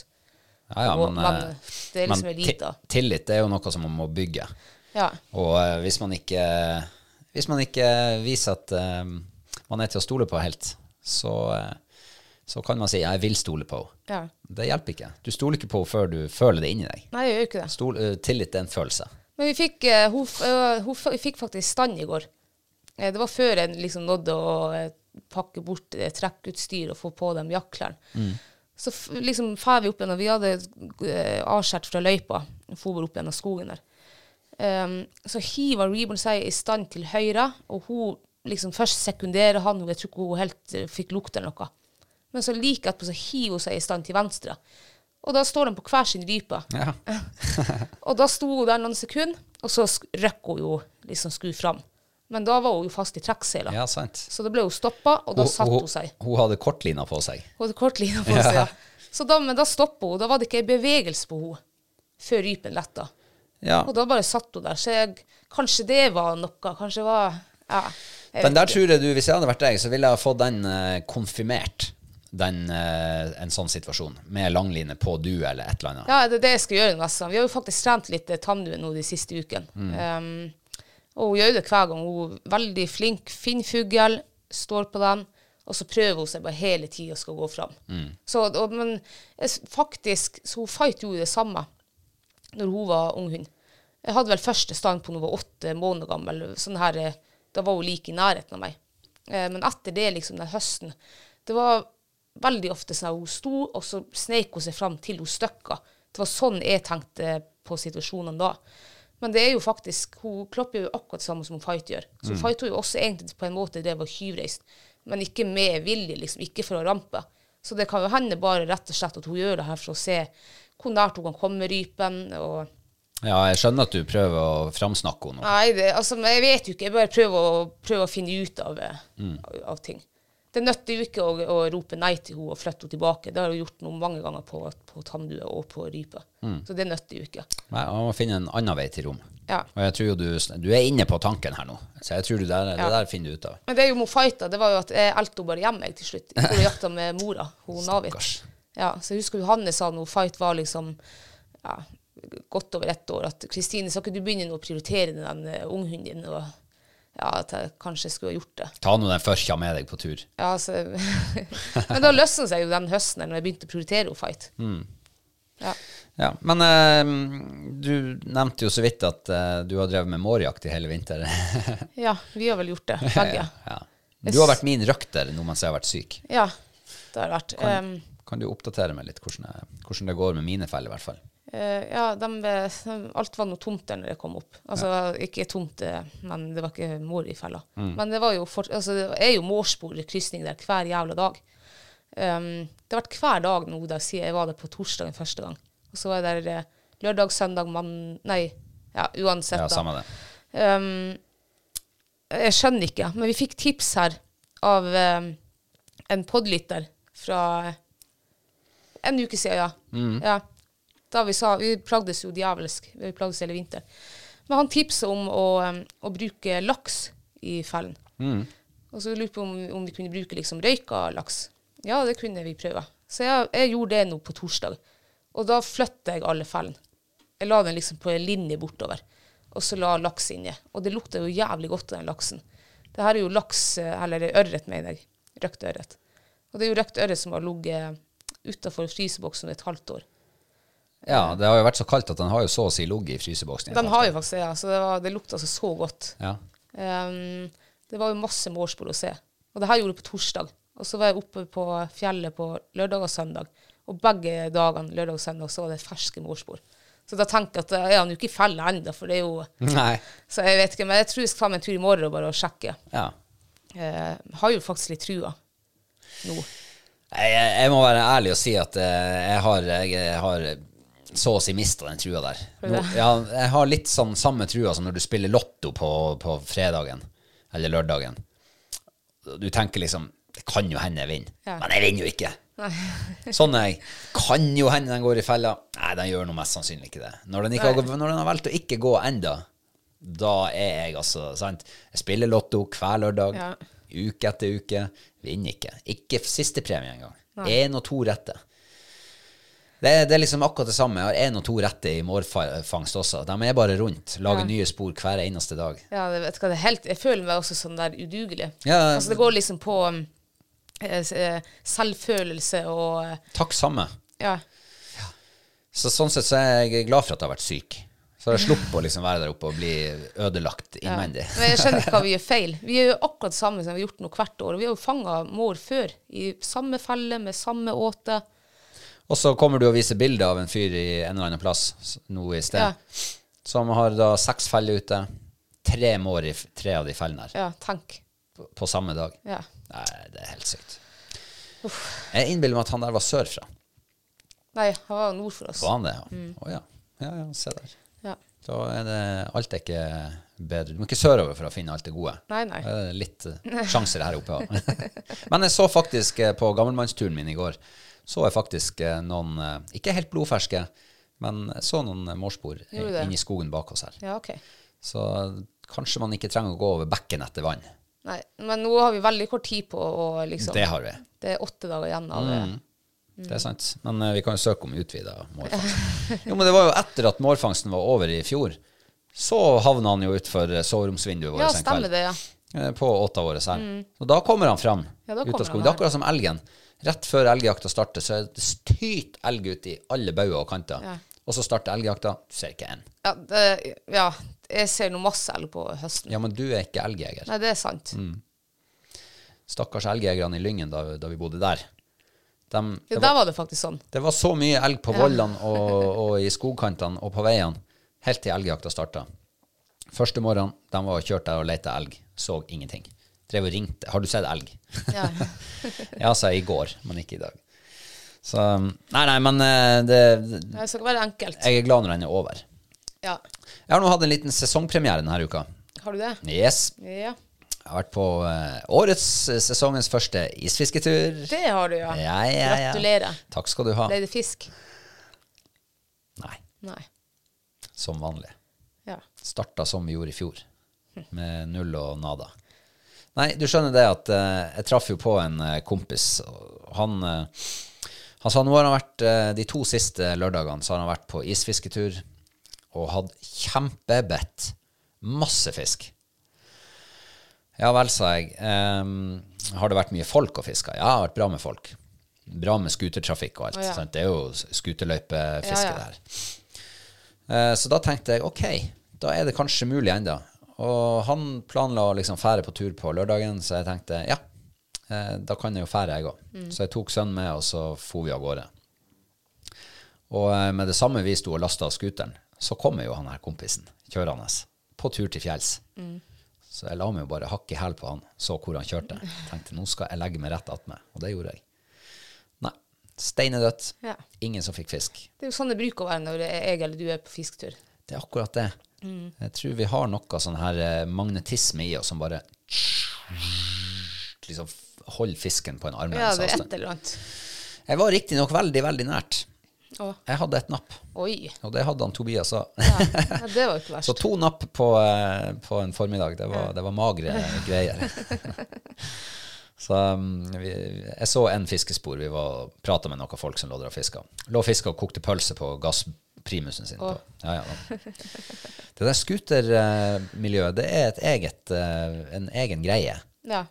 A: Ja, ja,
B: Og-
A: men,
B: men
A: eh,
B: det er liksom
A: men
B: en
A: ti-
B: elite.
A: tillit er jo noe som man må bygge.
B: Ja.
A: Og eh, hvis man ikke, hvis man ikke viser at eh, man er til å stole på helt, så, eh, så kan man si 'jeg vil stole på henne'.
B: ja.
A: Det hjelper ikke. Du stoler ikke på henne før du føler det inni deg.
B: Nei, jeg gjør jo ikke det.
A: Stol, eh, tillit er en følelse.
B: Men vi fikk, eh, hun, f- eh, hun f- fikk faktisk stand i går. Eh, Det var før jeg liksom nådde å eh, pakke bort eh, trekkutstyr og få på dem jaktklærne. Så f liksom fær vi opp igjen, og vi hadde eh, avskjært fra løypa. For opp gjennom skogen der. Ehm, så hiver Reborn seg i stand til høyre, og hun liksom først sekunderer han, og jeg tror ikke hun helt eh, fikk lukte eller noe. Men så like etterpå så hiver hun seg i stand til venstre. Og da står de på hver sin rype.
A: Ja.
B: Og da sto hun der noen sekunder, og så sk- røkk hun jo liksom skru fram. Men da var hun jo fast i trekkseila.
A: ja, sant.
B: Så da ble hun stoppa, og da satte hun seg.
A: Hun hadde kortlina på seg.
B: Hun hadde kortlina på seg. Ja. Så da, men da stoppa hun. Da var det ikke bevegelse på henne før rypen letta.
A: Ja.
B: Og da bare satt hun der. Så jeg, kanskje det var noe. Kanskje det var ja,
A: Den
B: jeg vet
A: der
B: ikke.
A: tror jeg du, hvis jeg hadde vært deg, så ville jeg ha fått den eh, konfirmert. Den, eh, en sånn situasjon, med langline på du eller et eller annet.
B: Ja, det er det jeg skal gjøre neste gang. Vi har jo faktisk trent litt eh, tannue nå de siste ukene. Um, og hun gjør det hver gang. Hun er veldig flink. Finner fugl, står på den, og så prøver hun seg bare hele tida og skal gå fram. Så, og, men jeg s- faktisk, så hun fight gjorde det samme når hun var ung hund. Jeg hadde vel første stand på når hun var åtte måneder gammel. sånn her, eh, Da var hun like i nærheten av meg. Eh, Men etter det, liksom den høsten Det var veldig ofte sånn at hun sto, og så sneik hun seg fram til hun støkka. Det var sånn jeg tenkte på situasjonen da. Men det er jo faktisk, hun klopper jo akkurat samme som hun Fight gjør. Så Fight har jo også egentlig på en måte drevet og hyvreist, men ikke med vilje, liksom, ikke for å rampe. Så det kan jo hende bare rett og slett at hun gjør det her for å se hvor nært hun kan komme rypen. og...
A: Ja, jeg skjønner at du prøver å framsnakke henne. nå.
B: Nei, det, altså, men jeg vet jo ikke. Jeg bare prøver å, prøver å finne ut av, eh, av, av ting. Det nytter jo ikke å, å rope nei til henne og flytte henne tilbake. Det har jeg gjort noe mange ganger på, på tannlue og på rype. Så det nytter jo ikke.
A: Nei, Man må finne en annen vei til rom.
B: Ja.
A: Og jeg tror jo du, du er inne på tanken her nå, så jeg tror du der, det der finner du ut av.
B: Men det er jo med fighta, det var jo at jeg elte henne bare hjem jeg, til slutt. Jeg skulle jakta med mora, hun Navit.
A: Stakkars.
B: Ja, så jeg husker Johanne sa når fight var liksom ja, godt over ett år, at Kristine, skal ikke du begynne nå å prioritere den eh, unghunden din? Og, ja, at jeg kanskje skulle ha gjort det.
A: Ta nå den førkja med deg på tur.
B: Ja, altså, *laughs* men da løsna seg jo den høsten her når jeg begynte å prioritere å fight.
A: Mm.
B: Ja.
A: Ja, Men eh, du nevnte jo så vidt at eh, du har drevet med mårjakt i hele vinter. *laughs*
B: ja, vi har vel gjort det, begge.
A: ja. Du har vært min røkter nå mens jeg har vært syk.
B: Ja, det har det vært. ehm,
A: Kan,
B: Em,
A: kan du oppdatere meg litt hvordan, jeg, hvordan det går med mine feller, i hvert fall?
B: eh, ja, dem, eh, alt var noe tomt der når jeg kom opp. Altså, ikke tomt, eh, men det var ikke mår i fella.
A: Mm.
B: Men det var jo fort, altså, det er jo mårsporkrysning der hver jævla dag. Em, det har vært hver dag nå da, siden jeg var der på torsdagen første gang. Og så var jeg der eh, lørdag, søndag, mann... Nei, ja, uansett.
A: Ja,
B: da.
A: samme det.
B: Um, jeg skjønner ikke, men vi fikk tips her av um, en podlytter fra en uke siden, ja. ja. Da vi sa Vi plagdes jo djevelsk. Vi plagdes hele vinteren. Men han tipsa om å, um, å bruke laks i fellen. Og så lurte jeg på om, om vi kunne bruke liksom røyka laks. Ja, det kunne vi prøve. Så jeg, jeg gjorde det nå på torsdag. Og da flytta jeg alle fellene. Jeg la den liksom på en linje bortover. Og så la laks inni. Og det lukta jo jævlig godt av den laksen. Det her er jo laks, eh, eller ørret, mener jeg. Røkt ørret. Og det er jo røkt ørret som har ligget utafor fryseboksen i et halvt år.
A: Ja, det har jo vært så kaldt at den har jo så å si ligget i fryseboksen. i et
B: De
A: halvt
B: har
A: år.
B: jo faktisk det, ja. Så det, var, det lukta altså så godt.
A: Ja.
B: Ehm, det var jo masse mårspor å se. Og det her gjorde jeg på torsdag. Og så var jeg oppe på fjellet på lørdag og søndag. Og begge dagene lørdag og søndag så var det ferske mårspor. Så da tenkte jeg at da er han jo ikke i fella ennå, for det er jo
A: *laughs* Nei.
B: Så jeg vet ikke, men jeg tror jeg skal ta meg en tur i morgen og bare og sjekke.
A: Ja.
B: Eh, har jo faktisk litt trua nå.
A: Jeg, jeg jeg må være ærlig og si at eh, jeg har, jeg har så å si mista den trua der. Nå, ja, jeg har litt sånn samme trua som når du spiller lotto på, på fredagen eller lørdagen. Du tenker liksom Det kan jo hende jeg vinner,
B: Ja.
A: men jeg vinner jo ikke. Sånn er jeg. Kan jo hende den går i fella. Nei, den gjør nå mest sannsynlig ikke det. Når den, ikke har, når den har valgt å ikke gå enda, da er jeg altså sant? Jeg spiller lotto hver lørdag,
B: Ja.
A: uke etter uke. Vinner ikke. Ikke siste premie engang. Én og to rette. Det, er- det er liksom akkurat det samme. Jeg har én og to rette i mårfangst også. De er bare rundt. Lager nye spor hver eneste dag.
B: Ja, det, vet du hva, det er helt, jeg føler meg også sånn der udugelig.
A: Ja.
B: Altså, det går liksom på um, eh, s- eh, selvfølelse og eh,
A: Takk samme.
B: Ja.
A: Så sånn sett så er jeg glad for at jeg har vært syk. Så jeg sluppet å liksom være der oppe og bli ødelagt innvendig.
B: Men jeg skjønner ikke hva
A: *laughs*
B: vi gjør feil. Vi gjør jo akkurat det samme som vi har gjort nå hvert år. og Vi har jo fanga mår før i samme felle med samme åte.
A: Og så kommer du og viser bilde av en fyr i en eller annen plass s- nå i sted,
B: Ja.
A: som har da seks feller ute, tre mår i f- tre av de fellene her,
B: Ja, tenk.
A: på, på samme dag.
B: Ja.
A: Nei, det er helt sykt. Jeg innbiller meg at han der var sørfra.
B: Nei, han var jo nord for oss.
A: Var han det? ja? Å
B: Mm.
A: ja. ja. Ja, se der.
B: Ja.
A: Da er det alt er ikke bedre. Du må ikke sørover for å finne alt det gode.
B: Nei, nei.
A: Da er det litt eh, sjanser her oppe. ja. *laughs* Men jeg så faktisk eh, på gammelmannsturen min i går, så jeg faktisk eh, noen, eh, ikke helt blodferske, men jeg så noen eh, mårspor eh,
B: Gjorde du det?
A: inni skogen bak oss her.
B: Ja, ok.
A: Så eh, kanskje man ikke trenger å gå over bekken etter vann.
B: Nei, men nå har vi veldig kort tid på å liksom
A: Det Mm, har vi.
B: Det er åtte dager igjen av eh. det.
A: Det
B: Mm.
A: er sant. Men eh, vi kan jo søke om utvida
B: *laughs*
A: mårfangst. Jo, men det var jo etter at mårfangsten var over i fjor, så havna han jo utfor eh, soveromsvinduet vårt
B: Ja,
A: en
B: stemmer
A: kveld.
B: det, ja.
A: eh, På åtta våre her. Og da kommer han fram
B: Mm. Ja, da
A: ut
B: kommer
A: av
B: han
A: skogen. Det
B: her.
A: er akkurat som elgen. Rett før elgjakta starter, så er det styrt elg ut i alle bauger og kanter.
B: Ja.
A: Og så starter elgjakta, du ser ikke en.
B: Ja, det, ja. Jeg ser nå masse elg på høsten.
A: Ja, men du er ikke elgjeger.
B: Nei, det er sant.
A: Mm. Stakkars elgjegerne i Lyngen da, da vi bodde der. Dem- det
B: Ja,
A: var-
B: der var det faktisk sånn.
A: Det var så mye elg på vollene og, og i skogkantene og på veiene helt til elgjakta starta. Første morgenen de var og kjørt der og leita elg, så ingenting. Drev og ringte. 'Har du sett elg?'
B: Ja.
A: ja, sa jeg i går, men ikke i dag. Så um, Nei, nei, men eh, det,
B: Det skal være enkelt.
A: jeg er glad når den er over.
B: Ja.
A: Jeg har nå hatt en liten sesongpremiere denne uka.
B: Har du det?
A: Yes.
B: Ja.
A: Jeg har vært på eh, årets sesongens første isfisketur.
B: Det har du, ja.
A: Ja, ja, ja.
B: Gratulerer.
A: Takk skal du ha.
B: Ble det fisk?
A: Nei,
B: Nei.
A: som vanlig.
B: Ja.
A: starta som vi gjorde i fjor, med null og nada. Nei, du skjønner det at eh, jeg traff jo på en eh, kompis. og Han, eh, han sa nå har han vært eh, de to siste lørdagene så har han vært på isfisketur og hatt kjempebedt. Masse fisk. Ja vel, sa jeg. ehm, har det vært mye folk og fiska? Ja, det har vært bra med folk. Bra med skutertrafikk og alt.
B: Å, ja.
A: sant? Det er jo skuterløypefiske,
B: Ja, ja.
A: det her. Eh, Så da tenkte jeg ok, da er det kanskje mulig ennå. Og han planla å liksom fære på tur på lørdagen, så jeg tenkte ja, eh, da kan jeg jo fære, jeg òg.
B: Mm.
A: Så jeg tok sønnen med, og så for vi av gårde. Og eh, med det samme vi sto og lasta av scooteren, så kommer jo han her kompisen kjørende på tur til fjells.
B: Mm.
A: Så jeg la meg jo bare hakke i hæl på han, så hvor han kjørte. Tenkte nå skal jeg legge meg rett attmed, og det gjorde jeg. Nei. Steinedødt.
B: Ja.
A: Ingen som fikk fisk.
B: Det er jo sånn det bruker å være når jeg eller du er på fisketur.
A: Det er akkurat det.
B: Mm.
A: Jeg tror vi har noe sånn her eh, magnetisme i oss som bare liksom f- holder fisken på en
B: Ja,
A: armlengdes
B: det er et
A: avstand.
B: eller annet.
A: Jeg var riktignok veldig, veldig nært.
B: Å,
A: Jeg hadde et napp,
B: oi.
A: *laughs* og det hadde han Tobias òg.
B: Ja, det var jo ikke
A: Så
B: verst.
A: to napp på, eh, på en formiddag, det var, det var magre greier. Så um, vi, jeg så en fiskespor. Vi var prata med noen folk som lå der og fiska. Lå og fiska og kokte pølse på gassprimusen sin. På. Ja, ja, da. Det der scootermiljøet, det er et eget, eh, en egen greie.
B: Ja.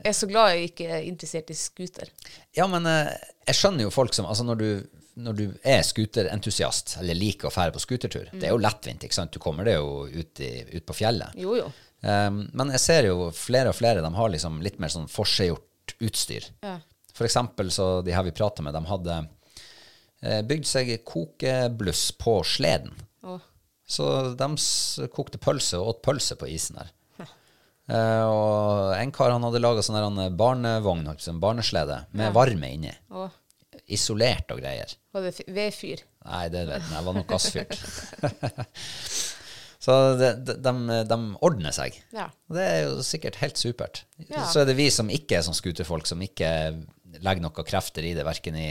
B: Jeg er så glad jeg ikke er interessert i scooter.
A: Ja, men eh, jeg skjønner jo folk som Altså, når du, når du er scooterentusiast, eller liker å fære på scootertur, det er jo lettvint, ikke sant? Du kommer deg jo ut, i, ut på fjellet.
B: Jo, jo.
A: Um, men jeg ser jo flere og flere de har liksom litt mer sånn forseggjort utstyr.
B: Ja.
A: For eksempel så de her vi prater med, de hadde eh, bygd seg kokebluss på sleden.
B: Å,
A: Så de s- kokte pølse og åt pølse på isen der. Eh, og en kar han hadde laga sånn her, han, eh, barnevogn, holdt på å si, en barneslede, med varme inni.
B: å.
A: Isolert og greier.
B: Var det fi- vedfyr?
A: Nei, det vet jeg. Jeg var nok gassfyrt. *laughs* så de, de, de, de ordner seg.
B: Ja.
A: Og Det er jo sikkert helt supert.
B: Ja.
A: Så er det vi som ikke er sånn skuterfolk, som ikke legger noen krefter i det, verken i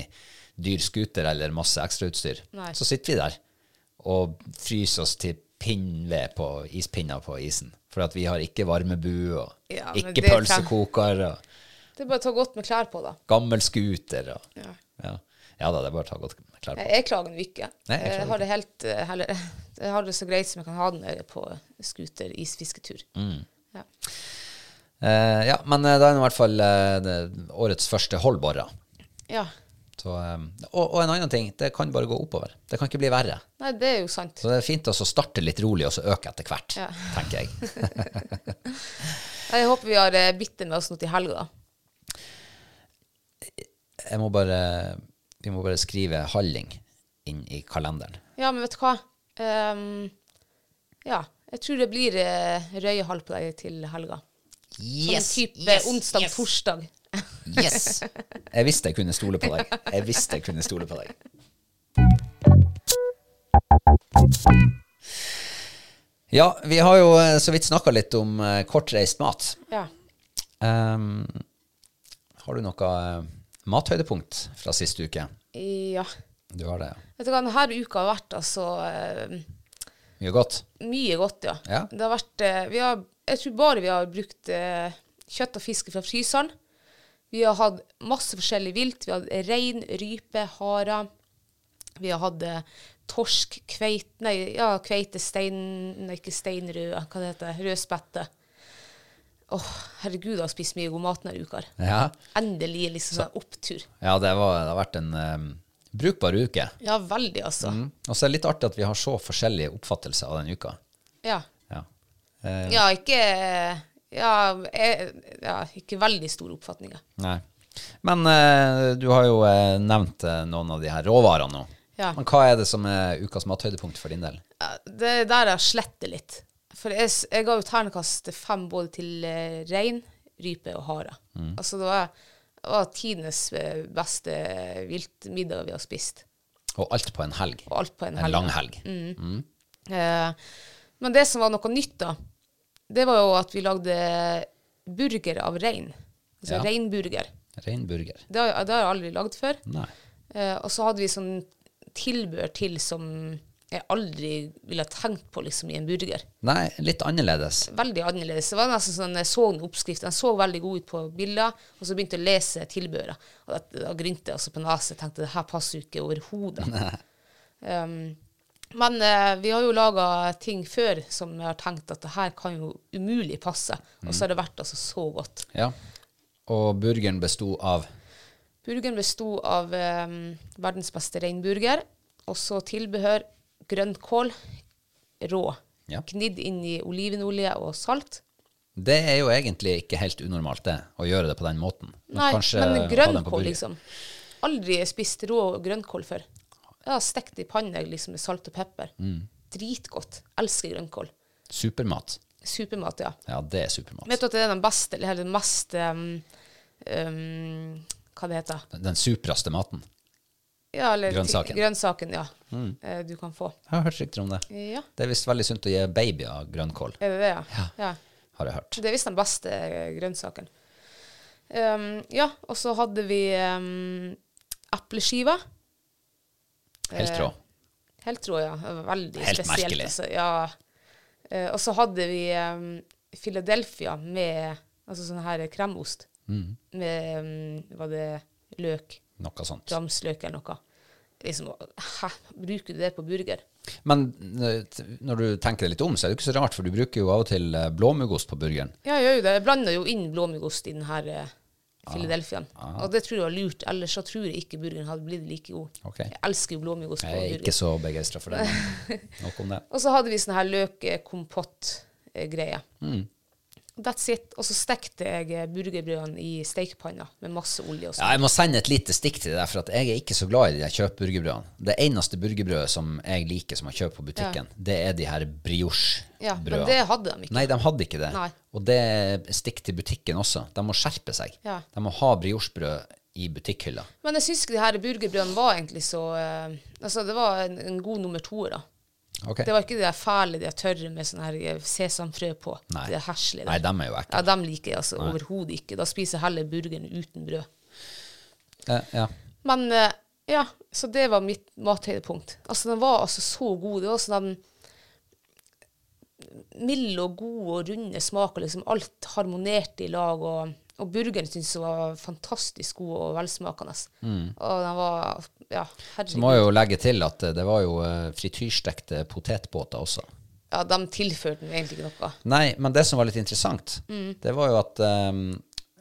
A: dyr skuter eller masse ekstrautstyr.
B: Nei.
A: Så sitter vi der og fryser oss til pinnved på ispinner på isen. For at vi har ikke varmebu og
B: Ja, men
A: ikke
B: det er klart.
A: pølsekoker og
B: Det er bare å ta godt med klær på, da.
A: gammel skuter. Og,
B: Ja.
A: ja. ja da, det er bare å ta godt klær på.
B: Jeg, jeg klager nå ikke.
A: Nei, jeg
B: jeg,
A: klager
B: har det helt eh, heller, Jeg har det så greit som jeg kan ha det når jeg er på scooter, isfisketur.
A: Mm.
B: Ja.
A: Eh, ja, men eh, da er det i hvert fall eh, det, årets første holdbåra.
B: ja.
A: Så, eh, og, og en annen ting, det kan bare gå oppover. Det kan ikke bli verre.
B: Nei, det er jo sant.
A: Så det er fint også å starte litt rolig og så øke etter hvert,
B: Ja.
A: tenker
B: *laughs*
A: jeg.
B: Jeg håper vi har eh, bitte med oss nå til helga, da.
A: jeg må bare, vi må bare skrive halling inn i kalenderen.
B: Ja, men vet du hva? Ehm, ja, jeg tror det blir uh, røyehall på deg til helga. Sånn type onsdag, torsdag.
A: yes. Jeg visste jeg kunne stole på deg. Jeg visste jeg kunne stole på deg. Ja, vi har jo eh, så vidt snakka litt om eh, kortreist mat.
B: Ja.
A: Ehm, har du noe eh, mathøydepunkt fra sist uke?
B: ja.
A: Du har det.
B: Vet du hva, denne uka har vært altså eh,
A: Mye godt.
B: mye godt, ja.
A: Ja.
B: Det har vært eh, vi har, Jeg tror bare vi har brukt eh, kjøtt og fisk fra fryseren. Vi har hatt masse forskjellig vilt. Vi har hatt rein, rype, hare. Vi har hatt eh, torsk, kveit, nei, ja, kveite, stein, nei, ikke steinrød, hva det heter rødspette. Åh, herregud, jeg har spist mye god mat denne uka. her.
A: Ja,
B: Endelig liksom en opptur.
A: ja det, var, det har vært en eh, brukbar uke.
B: Ja, veldig, altså.
A: Mm. Og så er det litt artig at vi har så forskjellige oppfattelser av den uka.
B: Ja.
A: Ja. Eh,
B: Ja, ikke ja, jeg, ja, ikke veldig store oppfatninger.
A: Nei. Men eh, du har jo eh, nevnt eh, noen av de her råvarene nå.
B: Ja.
A: Men hva er det som er ukas mathøydepunkt for din del?
B: Ja, Det er der jeg sletter litt. For jeg, s- jeg ga jo ternekast fem både til eh, rein, rype og hare.
A: Mm.
B: Altså det var, det var tidenes eh, beste viltmiddag vi har spist.
A: Og alt på en helg.
B: Og alt på en
A: En
B: helg.
A: lang helg.
B: Eh, men det som var noe nytt, da, det var jo at vi lagde burger av rein. Altså
A: Ja.
B: reinburger.
A: Reinburger.
B: Det har, det har jeg aldri lagd før.
A: Nei.
B: Eh, og så hadde vi sånn tilbør til som jeg aldri ville ha tenkt på liksom, i en burger.
A: Nei, litt annerledes.
B: Veldig annerledes. Det var nesten sånn, Jeg så en oppskrift, den så veldig god ut på bilder, og så begynte jeg å lese tilbøret. Og da, da grynte jeg altså på nesen og tenkte det her passer jo ikke overhodet. Um, men eh, vi har jo laga ting før som jeg har tenkt at det her kan jo umulig passe. Og så har det vært altså så godt.
A: Ja. Og burgeren besto av
B: Burgeren besto av eh, verdens beste reinburger, og så tilbehør grønnkål rå.
A: Ja.
B: Gnidd inn i olivenolje og salt.
A: Det er jo egentlig ikke helt unormalt, det, å gjøre det på den måten. Men
B: Nei,
A: kanskje ha
B: men
A: den på burger.
B: grønnkål, liksom. Aldri spist rå grønnkål før. Jeg har stekt i panne liksom, med salt og pepper.
A: Mm.
B: Dritgodt. Elsker grønnkål.
A: Supermat.
B: Supermat, ja.
A: Ja, det er supermat.
B: Vet du at det er den beste, eller den mest um, um, Hva det heter
A: Den supraste maten.
B: ja, eller,
A: Grønnsaken. Mm.
B: Grønnsaken, ja. Eh, Du kan få.
A: Jeg har hørt rykter om det.
B: Ja.
A: Det er visst veldig sunt å gi babyer grønnkål,
B: Er det det, ja? ja.
A: har jeg hørt.
B: Det er visst den beste eh, grønnsaken. Um, ja, og så hadde vi um, epleskiver.
A: Helt
B: Eh,
A: rå.
B: Helt rå, ja. Det var Veldig
A: Helt
B: spesielt.
A: merkelig.
B: Altså, ja. Eh, og så hadde vi um, Philadelphia med altså sånn her kremost.
A: Mm.
B: Med um, Var det løk?
A: Noe sånt.
B: Ramsløk eller noe. Liksom, hæ, bruker du det på burger?
A: Men eh, t- når du tenker deg litt om, så er det jo ikke så rart, for du bruker jo av og til eh, blåmuggost på burgeren.
B: Ja, jeg gjør jo det. Jeg blander jo inn blåmuggost i den her eh,
A: Ah,
B: Philadelphiaen. Og det tror jeg var lurt, ellers så tror jeg ikke burgeren hadde blitt like god.
A: Ok.
B: Jeg elsker jo blåmuggost på
A: Jeg er
B: burger.
A: ikke så begeistra for det. men
B: *laughs*
A: Nok om det.
B: Og så hadde vi sånn her løk-kompott-greie.
A: Mm.
B: That's it. Og så stekte jeg eh, burgerbrødene i stekepanna med masse olje
A: Ja,
B: og sånn.
A: jeg må sende et lite stikk til deg, for at jeg er ikke så glad i de der kjøpburgerbrødene. Det eneste burgerbrødet som jeg liker som jeg kjøper på butikken, det er de her brioche-brødene.
B: Ja, men det hadde de ikke.
A: Nei, de hadde ikke det.
B: Nei.
A: Og det er stikk til butikken også. De må skjerpe seg.
B: Ja.
A: De må ha brioche-brød i butikkhylla.
B: Men jeg syns ikke de her burgerbrødene var egentlig så eh, Altså, det var en, en god nummer toer, da.
A: Ok.
B: Det var ikke de der fæle, de der tørre med sånn her eh, sesamfrø på.
A: Nei.
B: Det er herselig.
A: Nei, dem er jo ekle.
B: Ja, dem liker jeg altså overhodet ikke. Da spiser jeg heller burgeren uten brød.
A: Eh, ja.
B: Men eh, ja, så det var mitt mathøydepunkt. Altså, den var altså så god. Det var sånn den mild og god og runde smak, og liksom alt harmonerte i lag. og... Og burgeren syntes jeg var fantastisk god og velsmakende. Og den var Ja, herregud.
A: Mm. Så må jeg jo legge til at eh, det var jo eh, frityrstekte potetbåter også.
B: Ja, de tilførte den egentlig ikke noe.
A: Nei, men det som var litt interessant,
B: Mm.
A: det var jo at ehm,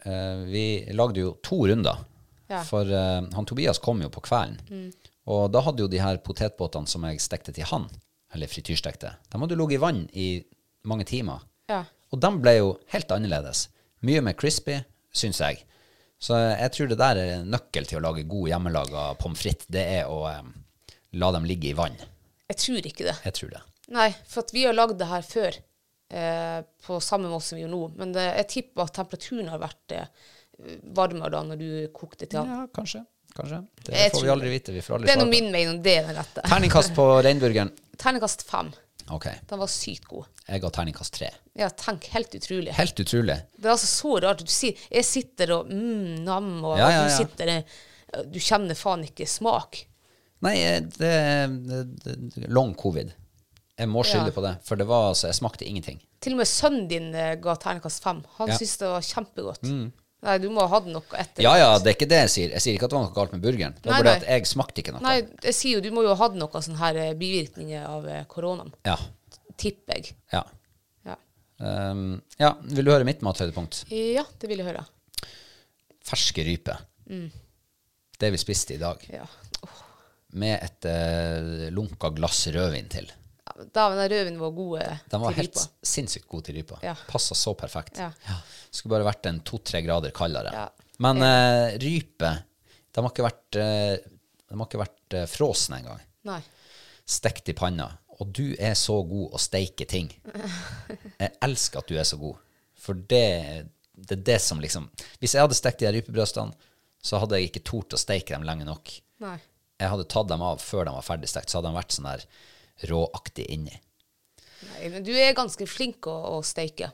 A: eh, vi lagde jo to runder.
B: Ja. Mm.
A: For eh, han Tobias kom jo på kvelden. Og da hadde jo de her potetbåtene som jeg stekte til han, eller frityrstekte, de hadde jo ligget i vann i mange timer.
B: Ja.
A: Og de ble jo helt annerledes. Mye mer crispy, syns jeg. Så jeg tror det der er en nøkkel til å lage god hjemmelaga pommes frites. Det er å ehm, la dem ligge i vann.
B: Jeg tror ikke det.
A: Jeg tror det.
B: Nei, for at vi har lagd det her før, eh, på samme måte som vi gjør nå. Men det, jeg tipper at temperaturen har vært eh, varmere da når du kokte til han.
A: Ja, kanskje. Kanskje. Det
B: Jeg
A: får vi
B: tror
A: aldri vite. Vi får aldri
B: det er
A: svare
B: nå
A: på
B: min mening, det er den rette.
A: Terningkast på reinburgeren.
B: Terningkast fem.
A: Ok.
B: Den var sykt god.
A: Jeg ga terningkast tre.
B: Ja, tenk. Helt utrolig.
A: Helt utrolig.
B: Det er altså så rart. Du sier, jeg sitter og mm, nam, og
A: Ja, ja, ja.
B: du sitter eh, Du kjenner faen ikke smak.
A: Nei, eh, det, det, det long covid. Jeg må skylde
B: Ja.
A: på det, for det var altså Jeg smakte ingenting.
B: Til og med sønnen din eh, ga terningkast fem. Han
A: Ja. Mm.
B: syntes det var kjempegodt. Nei, du må ha hatt noe etter.
A: Ja ja, det er ikke det jeg sier. Jeg sier ikke at det var noe galt med burgeren. Det var
B: Nei,
A: bare
B: nei.
A: at jeg smakte ikke noe.
B: Nei, jeg sier jo du må jo ha hatt noe sånn her eh, bivirkninger av eh, koronaen.
A: Ja.
B: Tipper jeg.
A: Ja.
B: Ja.
A: Um, ja. Vil du høre mitt mathøydepunkt?
B: ja, det vil jeg høre.
A: Ferske ryper.
B: Mm.
A: Det vi spiste i dag.
B: Ja.
A: Med et eh, lunka glass rødvin til.
B: Dæven, den rødvinen var god. eh,
A: Den var
B: til
A: helt
B: ripa.
A: sinnssykt god til rypa.
B: Ja.
A: Passa så perfekt.
B: Ja.
A: Skulle bare vært en to-tre grader kaldere.
B: Ja.
A: Men eh, rype De har ikke vært, eh, de har ikke vært eh, frosne engang.
B: Nei.
A: Stekt i panna. Og du er så god å steike
B: *laughs*
A: ting. Jeg elsker at du er så god. For det, det er det som liksom Hvis jeg hadde stekt de her rypebrøstene, så hadde jeg ikke tort å steike dem lenge nok.
B: Nei.
A: Jeg hadde tatt dem av før de var ferdigstekt, så hadde de vært sånn der råaktig inni.
B: Nei. Men du er ganske flink å, å steike.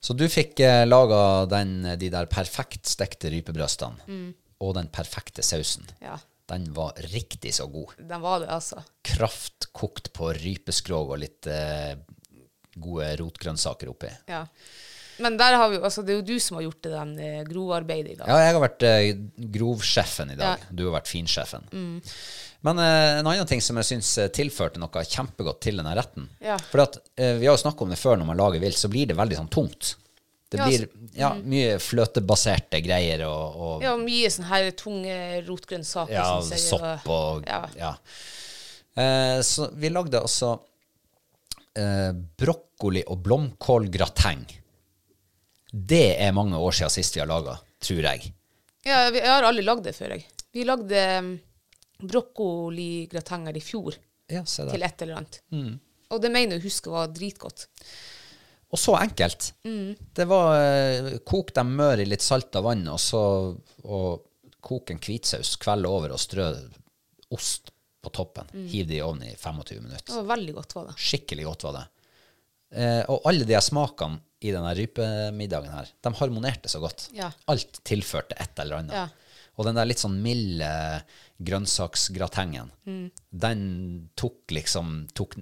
A: Så du fikk eh, laga den, eh, de der perfekt stekte rypebrøstene og den perfekte sausen.
B: Mm. Ja.
A: Den var riktig så god.
B: Den var det, altså.
A: Kraft kokt på rypeskrog og litt eh, gode rotgrønnsaker oppi.
B: Ja. Men der har vi, altså, det er jo du som har gjort det den eh, grovearbeidet i dag.
A: Ja, jeg har vært eh, grovsjefen i dag.
B: Ja. Mm.
A: Du har vært finsjefen. Men eh, en annen ting som jeg syns eh, tilførte noe kjempegodt til denne retten
B: Ja.
A: For at, eh, vi har jo snakka om det før, når man lager vilt, så blir det veldig sånn tungt. Det
B: Ja, Mm.
A: blir ja, mye fløtebaserte greier og, og
B: Ja, mye sånn her tunge rotgrønnsaker.
A: Ja,
B: synes jeg,
A: sopp og
B: ja.
A: ja. Eh, så vi lagde altså eh, brokkoli og blomkålgrateng. Det er mange år siden sist vi har laga, tror jeg.
B: ja, vi- jeg har aldri lagd det før, jeg. Vi lagde um, brokkoligratenger i fjor
A: Ja, Mm. se
B: til
A: der.
B: et eller annet. Og det mener jeg å huske var dritgodt.
A: Og så enkelt. Det var eh, kok dem mør i litt salta vann, og så og kok en hvitsaus kveld over og strø ost på toppen. Hiv det i ovnen i 25 minutter.
B: Det var veldig godt, var det.
A: Skikkelig godt var det. Eh, og alle de her smakene i denne rypemiddagen her, de harmonerte så godt.
B: Ja.
A: Alt tilførte et eller annet.
B: Ja.
A: Og den der litt sånn milde grønnsaksgratengen,
B: Mm.
A: den tok liksom tok,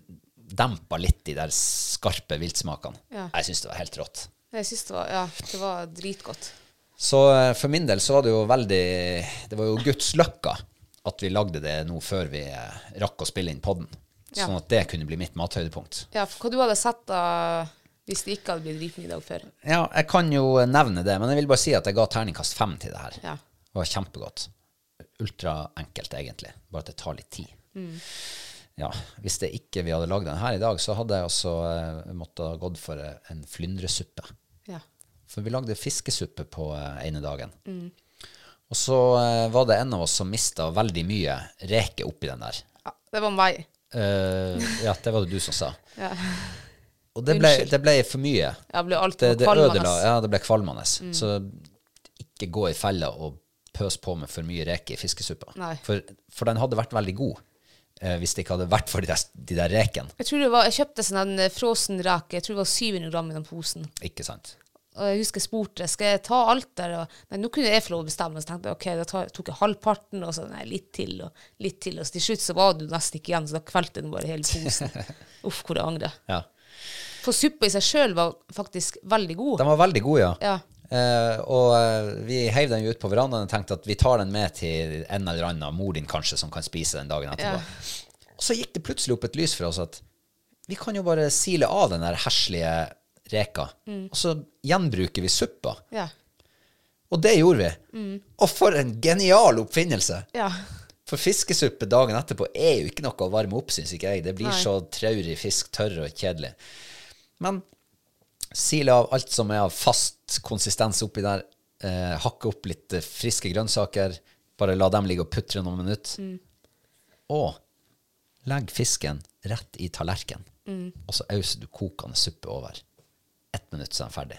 A: Dempa litt de der skarpe viltsmakene.
B: Ja.
A: Jeg syns det var helt rått.
B: Jeg synes det var, ja, det var dritgodt.
A: Så eh, for min del så var det jo veldig Det var jo Guds løkka at vi lagde det nå før vi eh, rakk å spille inn podden.
B: Ja.
A: Sånn at det kunne bli mitt mathøydepunkt.
B: Ja, for hva du hadde sett da, hvis det ikke hadde blitt ripmiddag før?
A: Ja, jeg kan jo nevne det, men jeg vil bare si at jeg ga terningkast fem til det her.
B: Ja.
A: Det var kjempegodt. Ultraenkelt, egentlig. Bare at det tar litt tid.
B: Mm.
A: Ja, hvis det ikke vi hadde lagd den her i dag, så hadde jeg altså eh, måttet ha gått for eh, en flyndresuppe.
B: Ja.
A: For vi lagde fiskesuppe på eh, ene dagen.
B: Mm.
A: Og så eh, var det en av oss som mista veldig mye reke oppi den der.
B: ja. Det var meg.
A: Eh, ja, det var det du som sa.
B: Ja.
A: Og det ble,
B: Unnskyld.
A: det ble for mye
B: Jeg ble alt
A: det,
B: for
A: det
B: kvalmende.
A: ødela, ja, det ble kvalmende.
B: Mm.
A: Så ikke gå i fella og pøs på med for mye reke i fiskesuppa.
B: Nei.
A: For, for den hadde vært veldig god eh, hvis det ikke hadde vært for de der, de der rekene.
B: Jeg tror det var, jeg kjøpte sånn en eh, frossen rake, jeg tror det var 700 gram i den posen.
A: Ikke sant?
B: Og jeg husker jeg spurte, skal jeg ta alt der? Og, nei, nå kunne jeg få lov å bestemme, så tenkte jeg, ok, da tar, tok jeg halvparten, og så nei, litt til, og litt til. Og så til slutt så var det jo nesten ikke igjen, så da kvelte den bare hele
A: *laughs*
B: posen. Uff, hvor jeg angrer.
A: Ja.
B: For suppa i seg selv var faktisk veldig god.
A: Den var veldig god, ja.
B: Ja.
A: Eh, og eh, vi heiv den jo ut på verandaen og tenkte at vi tar den med til en eller annen av mor din kanskje som kan spise den dagen etterpå. Og så gikk det plutselig opp et lys for oss at vi kan jo bare sile av den der heslige reka,
B: Mm.
A: og så gjenbruker vi suppa.
B: Ja.
A: Og det gjorde vi. Og for en genial oppfinnelse!
B: Ja.
A: For fiskesuppe dagen etterpå er jo ikke noe å varme opp, syns ikke jeg. Det blir
B: Nei.
A: så traurig fisk, tørr og kjedelig. Men sile av alt som er av fast konsistens oppi der, eh, hakke opp litt eh, friske grønnsaker, bare la dem ligge og putre noen minutter. Og legg fisken rett i tallerkenen, og så auser du kokende suppe over. Ett minutt, så er den ferdig.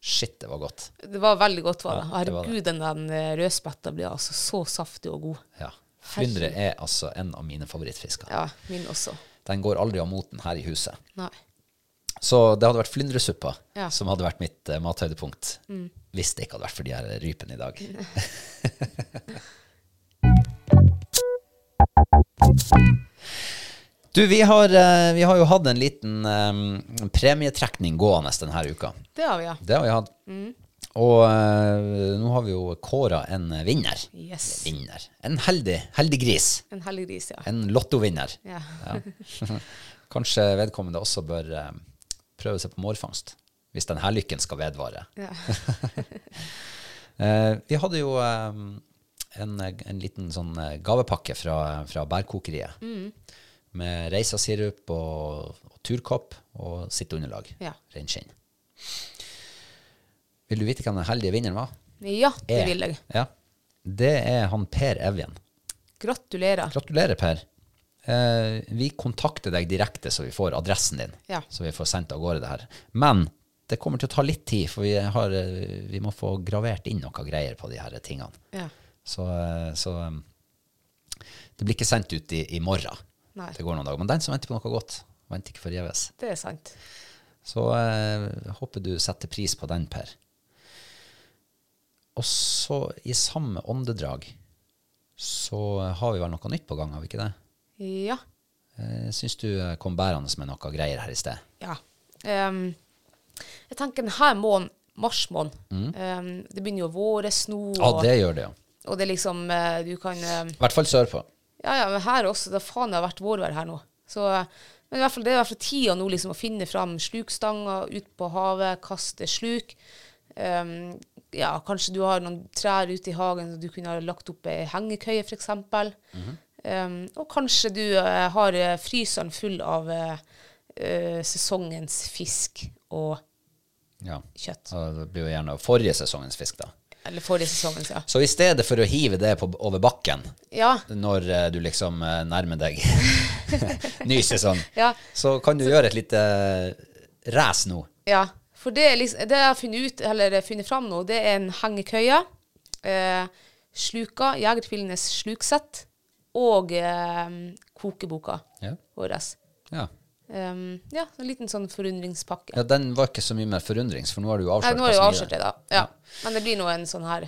A: Shit, det var godt.
B: Det var veldig godt, var det.
A: Ja, det var det.
B: Herregud, den, den eh, rødspetta ble altså så saftig og god.
A: Ja. Flyndre er altså en av mine favorittfisker.
B: Ja, min også.
A: Den går aldri av moten her i huset.
B: Nei.
A: Så det hadde vært flyndresuppa
B: Ja. Mm.
A: som hadde vært mitt eh, mathøydepunkt. Hvis det ikke hadde vært for de her rypene
B: *laughs*
A: i dag. du, vi har, eh, vi har jo hatt en liten eh, premietrekning gående denne uka.
B: Det har vi, ja.
A: Det har vi hatt.
B: Mm.
A: Og eh, nå har vi jo kåra en vinner.
B: Yes.
A: vinner. En heldig, heldig gris.
B: En helliggris, ja.
A: En lottovinner. *laughs*
B: ja.
A: Ja. Kanskje vedkommende også bør eh, prøve seg på mårfangst, hvis denne lykken skal vedvare.
B: Ja.
A: *laughs* Eh, vi hadde jo eh, en, en liten sånn eh, gavepakke fra, fra bærkokeriet.
B: Mm.
A: Med reisasirup og, og turkopp og sitt underlag.
B: Ja.
A: Reinskinn. Vil du vite hvem den heldige vinneren var?
B: ja, det
A: Er-
B: vil jeg.
A: Ja. Det er han Per Evjen.
B: Gratulerer.
A: Gratulerer, Per. Eh, vi kontakter deg direkte, så vi får adressen din.
B: Ja.
A: Så vi får sendt av gårde det her. Men det kommer til å ta litt tid, for vi, har, eh, vi må få gravert inn noe greier på de her tingene.
B: Ja.
A: Så, eh, så eh, det blir ikke sendt ut i, i morgen.
B: Nei.
A: Det går noen dager. Men den som venter på noe godt, venter ikke forgjeves.
B: Det er sant.
A: Så eh, håper du setter pris på den, Per. Og så, i samme åndedrag, så har vi vel noe nytt på gang, har vi ikke det?
B: Ja.
A: Jeg syns du eh, kom bærende med noe greier her i sted.
B: Ja. Ehm, jeg tenker denne måneden, mars måned, ehm, det begynner jo våres nå,
A: Ja,
B: og,
A: det gjør det, jo.
B: og det er liksom eh, Du kan eh,
A: I hvert fall sørpå.
B: Ja, ja, men her også. Da faen, det har vært vårvær her nå. Så, men i hvert fall, det er i hvert fall tida nå liksom, å finne fram slukstanga, ut på havet, kaste sluk. Ehm, ja, kanskje du har noen trær ute i hagen som du kunne ha lagt opp ei hengekøye, f.eks. Mm og kanskje du eh, har eh, fryseren full av eh, eh, sesongens fisk og
A: Ja.
B: kjøtt.
A: Så det blir jo gjerne forrige sesongens fisk, da.
B: Eller forrige sesongens, ja.
A: Så i stedet for å hive det på, over bakken
B: Ja,
A: når eh, du liksom eh, nærmer deg *laughs* ny sesong,
B: *laughs* Ja.
A: så kan du gjøre et lite race nå.
B: Ja, for det, er liksom, det jeg har funnet, ut, eller funnet fram nå, det er en hengekøye, eh, sluka, Jegertvillernes sluksett, og eh, kokeboka
A: Ja.
B: vår.
A: Ja.
B: Um, ja, en liten sånn forundringspakke.
A: ja. Den var ikke så mye mer forundrings, for nå har du jo
B: Nei,
A: avslørt
B: nå har jeg jo
A: hva som
B: avslørt det, da. Ja. Men det blir nå en sånn her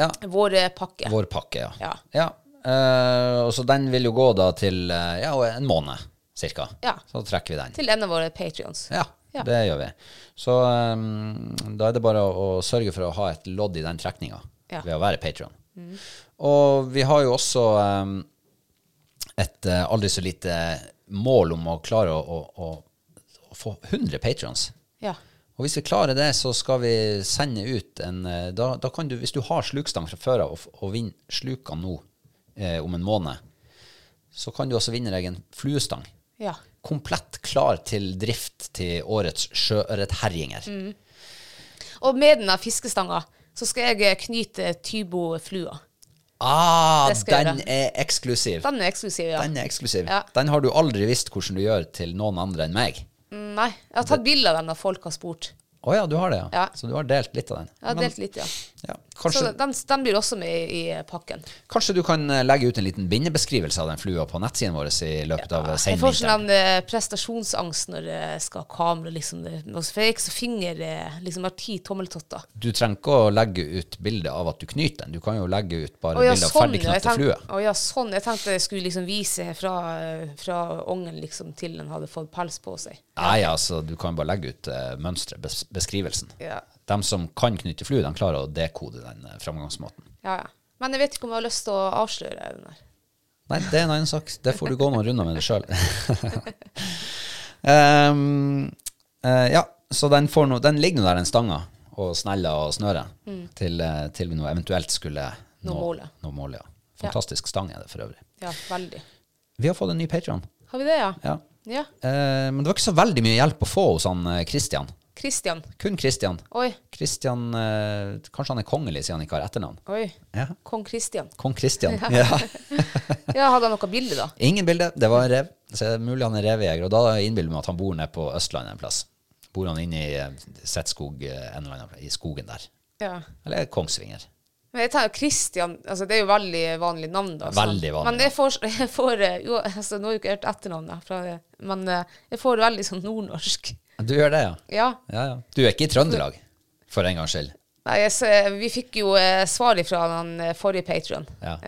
A: Ja.
B: vårpakke.
A: Vår pakke, ja.
B: Ja.
A: Eh, og så den vil jo gå da til eh, ja, en måned, cirka.
B: Ja.
A: Så trekker vi den.
B: Til en av våre patrions.
A: Ja,
B: Ja.
A: det gjør vi. Så um, da er det bare å, å sørge for å ha et lodd i den trekninga
B: Ja. Mm.
A: ved å være patron. Og vi har jo også um, et eh, aldri så lite mål om å klare å, å, å, å få 100 patrons.
B: Ja.
A: Og hvis vi klarer det, så skal vi sende ut en eh, Da, da kan du, hvis du har slukstang fra før av og, f- og vinner sluka nå eh, om en måned, så kan du også vinne deg en fluestang
B: Ja.
A: komplett klar til drift til årets sjøørretherjinger.
B: Mm. Og med denne fiskestanga så skal jeg eh, knyte Tybo-flua.
A: Ah,
B: Det skal jeg
A: den
B: gjøre.
A: er eksklusiv.
B: Den er eksklusiv, ja.
A: Den er eksklusiv.
B: Ja.
A: Den har du aldri visst hvordan du gjør til noen andre enn meg.
B: Mm, Nei, jeg har tatt bilde av den når folk har spurt.
A: Å ja, du har det, ja.
B: Ja.
A: Så du har delt litt av den.
B: Jeg har
A: Men-
B: delt litt, ja.
A: Ja, kanskje,
B: Så den, den blir også med i, i pakken.
A: kanskje du kan eh, legge ut en liten bindebeskrivelse av den flua på nettsiden vår i løpet av eh,
B: Jeg får sånn
A: senvinteren.
B: den eh, prestasjonsangst når jeg skal ha kamera, liksom. Det- nå- For jeg er ikke så finger eh, liksom, Jeg har ti tommeltotter.
A: Du trenger ikke å legge ut bilde av at du knyter den. Du kan jo legge ut bare
B: Å ja,
A: bilde av
B: sånn, ja. Jeg
A: ferdigknøtte
B: tenkte,
A: flue.
B: å ja, sånn. Jeg tenkte jeg skulle liksom vise fra, eh, fra ungen liksom, til den hadde fått pels på seg.
A: Nei, altså, du kan bare legge ut uh, mønstret, bes beskrivelsen.
B: Ja.
A: De som kan knytte flue, de klarer å dekode den eh, framgangsmåten.
B: Ja, ja. Men jeg vet ikke om jeg har lyst til å avsløre den der.
A: Nei, det er en annen sak. Det får du gå noen runder med deg sjøl. *laughs* Ehm, eh, ja, så den, får nå- den ligger nå der, den stanga, og sneller og snører, til, eh, til vi nå eventuelt skulle
B: Nå målet.
A: nå målet, ja. Fantastisk stang er det for øvrig.
B: Ja, veldig.
A: Vi har fått en ny patron.
B: Har vi det, ja?
A: Ja.
B: Ja.
A: Eh, men det var ikke så veldig mye hjelp å få hos han eh, Christian.
B: Christian.
A: Kun Christian.
B: Oi.
A: Christian eh, Kanskje han er kongelig siden han ikke har etternavn?
B: Oi.
A: Ja.
B: Kong Christian.
A: Kong Christian.
B: *laughs*
A: Ja.
B: Ja, hadde han noe bilde, da?
A: Ingen bilde. Det var en rev. Så det er mulig han er revejeger. Og da innbiller jeg meg at han bor nede på Østlandet en plass. Bor han inne i eh, Setskog eh, en eller annen plass, i skogen der.
B: Ja.
A: Eller Kongsvinger.
B: Men jeg tar jo Christian altså Det er jo veldig vanlig navn, da. sant?
A: Veldig vanlig
B: Men jeg får, *laughs* jeg får eh, jo, altså, Nå har jeg ikke hørt etternavnet, fra det, men eh, jeg får veldig sånn nordnorsk. *laughs*
A: Du gjør det, ja.
B: Ja.
A: ja, ja. Du er ikke i Trøndelag, for en gangs skyld.
B: Nei, jeg, ser- vi fikk jo eh, svar fra den eh, forrige patron.
A: Ja.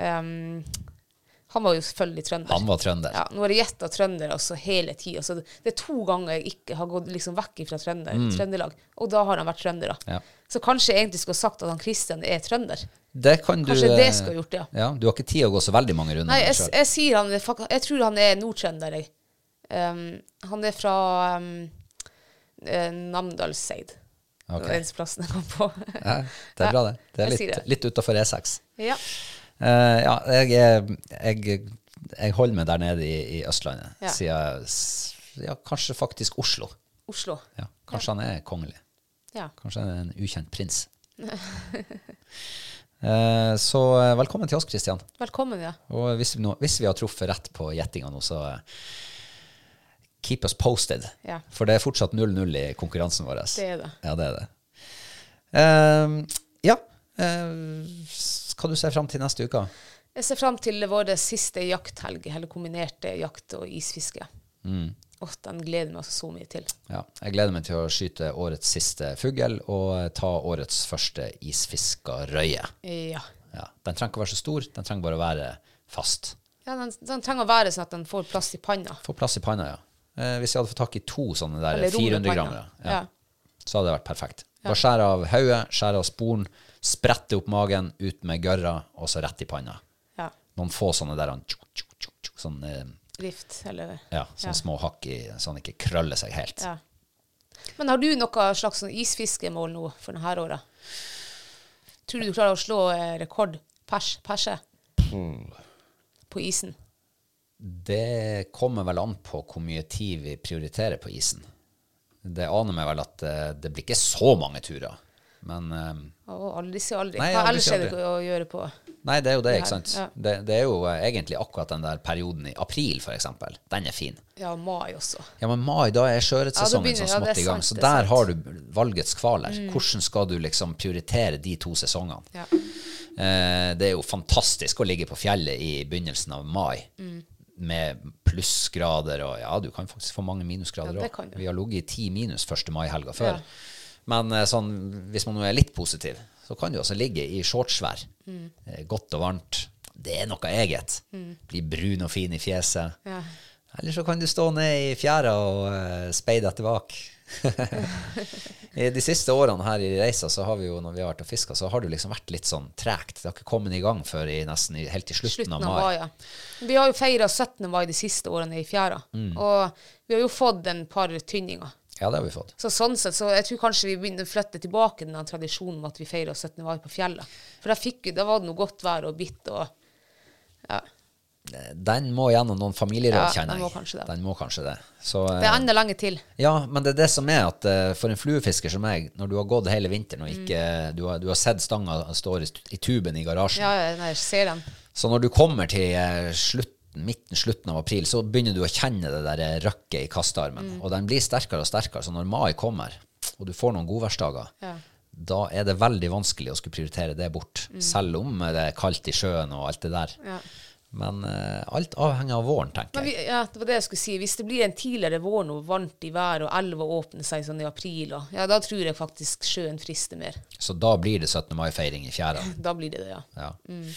B: han var jo selvfølgelig trønder.
A: Han var trønder.
B: Ja, nå har jeg gjetta trønder altså, hele tida. Så det, det er to ganger jeg ikke har gått liksom, vekk fra trønder, Trøndelag, og da har han vært trønder. da.
A: Mm. Ja.
B: Så kanskje jeg egentlig skulle ha sagt at han Kristian er trønder.
A: Det kan du
B: Kanskje det
A: eh,
B: skulle jeg gjort, ja.
A: Du har ikke tid å gå så veldig mange runder
B: Nei,
A: med
B: jeg,
A: deg selv.
B: jeg sier han er fak- Jeg tror han er nordtrønder, jeg. Um, han er fra um, eh, Namdalseid.
A: Ok.
B: Det var eneste plassen jeg kom på.
A: Ja, det er bra, det. Det er
B: jeg sier
A: litt,
B: det.
A: litt E utafor E6.
B: *laughs* ja.
A: Eh, ja, jeg, er- jeg, jeg holder meg der nede i, i Østlandet,
B: Ja.
A: siden s- ja, kanskje faktisk Oslo.
B: Oslo.
A: Ja, kanskje han er kongelig.
B: Ja.
A: Kanskje han er en ukjent
B: *laughs*
A: prins. Eh, så eh, velkommen til oss, Kristian.
B: Velkommen, ja.
A: Og hvis vi, nå, hvis vi har truffet rett på gjettinga nå, så eh, keep us posted.
B: Ja.
A: For det er fortsatt 0-0 i konkurransen vår.
B: Det er det.
A: Ja, det er det. Eh, ja. eh, hva du ser fram til neste uke?
B: Jeg ser fram til vår siste jakthelg, eller kombinerte jakt og isfiske.
A: Mm.
B: Åh, den gleder jeg meg så mye til.
A: Ja, jeg gleder meg til å skyte årets siste fugl og eh, ta årets første isfiskarøye.
B: Ja.
A: Ja, den trenger ikke å være så stor, den trenger bare å være fast.
B: ja den, den trenger å være sånn at den får plass i panna.
A: Få plass i panna, ja. Eh, hvis jeg hadde fått tak i to sånne der
B: Eller rom i
A: 400
B: panna.
A: grammere, ja,
B: Ja.
A: så hadde det vært perfekt. Bare skjære av hodet, skjære av sporen, sprette opp magen, ut med gørra, og så rett i panna.
B: Ja.
A: Noen få sånne der, han, tjuk, tjuk, tjuk, tjuk, sånn, eh,
B: Rift, eller
A: ja, sånne små hakk i, sånn ikke krøller seg helt.
B: Ja. Men har du noe slags sånn isfiskemål nå for denne året? Tror du du klarer å slå eh, rekord pers, perse på isen?
A: Det kommer vel an på hvor mye tid vi prioriterer på isen. Det aner meg vel at eh, det blir ikke så mange turer. Men eh,
B: Å, aldri si aldri.
A: Nei,
B: Hva
A: aldri
B: ellers
A: si
B: er det
A: aldri.
B: å gjøre på?
A: nei, det er jo det, ikke
B: her,
A: sant?
B: ja.
A: Det, det er jo eh, egentlig akkurat den der perioden i april, for eksempel. Den er fin.
B: Ja, mai også.
A: Ja, men mai, da er
B: Ja, da
A: sjøørretsesongen sånn
B: begynner- ja,
A: smått
B: det er
A: i gang. Så
B: sant, det er
A: der
B: sant. Mm.
A: har du valgets kvaler. Hvordan skal du liksom prioritere de to sesongene?
B: Ja.
A: Eh, det er jo fantastisk å ligge på fjellet i begynnelsen av mai.
B: Mm.
A: Med plussgrader og Ja, du kan faktisk få mange minusgrader
B: Ja, det
A: òg.
B: kan du.
A: Vi har ligget i ti minus første mai-helga før. Men eh, sånn, hvis man nå er litt positiv, så kan du også ligge i shortsvær.
B: Mm.
A: Eh, godt og varmt. Det er noe eget. Bli brun og fin i fjeset.
B: Ja.
A: Eller så kan du stå ned i fjæra og eh, speide etter bak. I de siste årene her i reisa, så har vi jo, når vi har vært og fiska, så har det jo liksom vært litt sånn tregt. Det har ikke kommet i gang før i nesten i, helt til slutten,
B: slutten av
A: av mai.
B: mai. ja. Vi har jo feira 17. mai de siste årene i fjæra,
A: Hmm.
B: og vi har jo fått en par tynninger.
A: Ja, det har vi fått.
B: Så sånn sett, så jeg tror kanskje vi begynner å flytte tilbake den der tradisjonen med at vi feirer 17. mai på fjellet. For da fikk vi, da var det noe godt vær og bitt og ja.
A: Eh, Den må gjennom noen familieråd,
B: Ja, den
A: kjenner jeg.
B: må kanskje det.
A: Den må kanskje det. Så, eh,
B: Det er enda lenge til.
A: Ja, men det er det som er at eh, for en fluefisker som meg, når du har gått hele vinteren og ikke
B: Mm.
A: du, har, du har sett stanga står i, st- i tuben i garasjen,
B: Ja, ja, nei, jeg ser den.
A: så når du kommer til eh, slutten, midten, slutten av april, så begynner du å kjenne det der eh, røkket i kastearmen,
B: Mm.
A: og den blir sterkere og sterkere, så når mai kommer, og du får noen godværsdager, da er det veldig vanskelig å skulle prioritere det bort,
B: Mm.
A: selv om eh, det er kaldt i sjøen og alt det der. Men eh, alt avhenger av våren, tenker jeg.
B: Men vi, ja, det var det jeg skulle si. Hvis det blir en tidligere vår nå, varmt i været, og elva åpner seg sånn i april, og, ja, da tror jeg faktisk sjøen frister mer.
A: Så da blir det 17. mai-feiring i fjæra.
B: *laughs* Da blir det det, ja.
A: Ja.
B: Mm.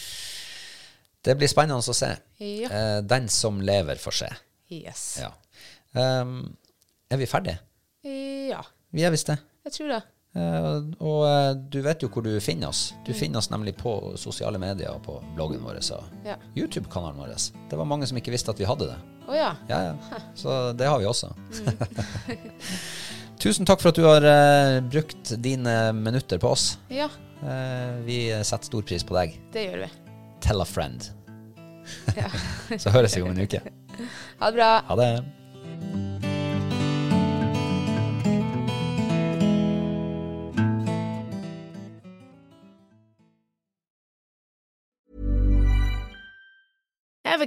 A: Det blir spennende å se.
B: Ja.
A: Eh, den som lever, får se.
B: Yes.
A: Ja. Ehm, er vi ferdige?
B: Ja,
A: Vi er visst det.
B: jeg tror det.
A: Eh, og eh, du vet jo hvor du finner oss. Du finner oss nemlig på sosiale medier og på bloggen vår og
B: Ja.
A: YouTube-kanalen vår. Det var mange som ikke visste at vi hadde det.
B: Å ja.
A: Ja, ja. Så det har vi også. *laughs* Tusen takk for at du har eh, brukt dine eh, minutter på oss.
B: Ja,
A: Eh, vi setter stor pris på deg.
B: det gjør vi.
A: Tell a friend. *laughs* Så høres vi om en uke.
B: Ha det bra.
A: Ha det.
C: Ever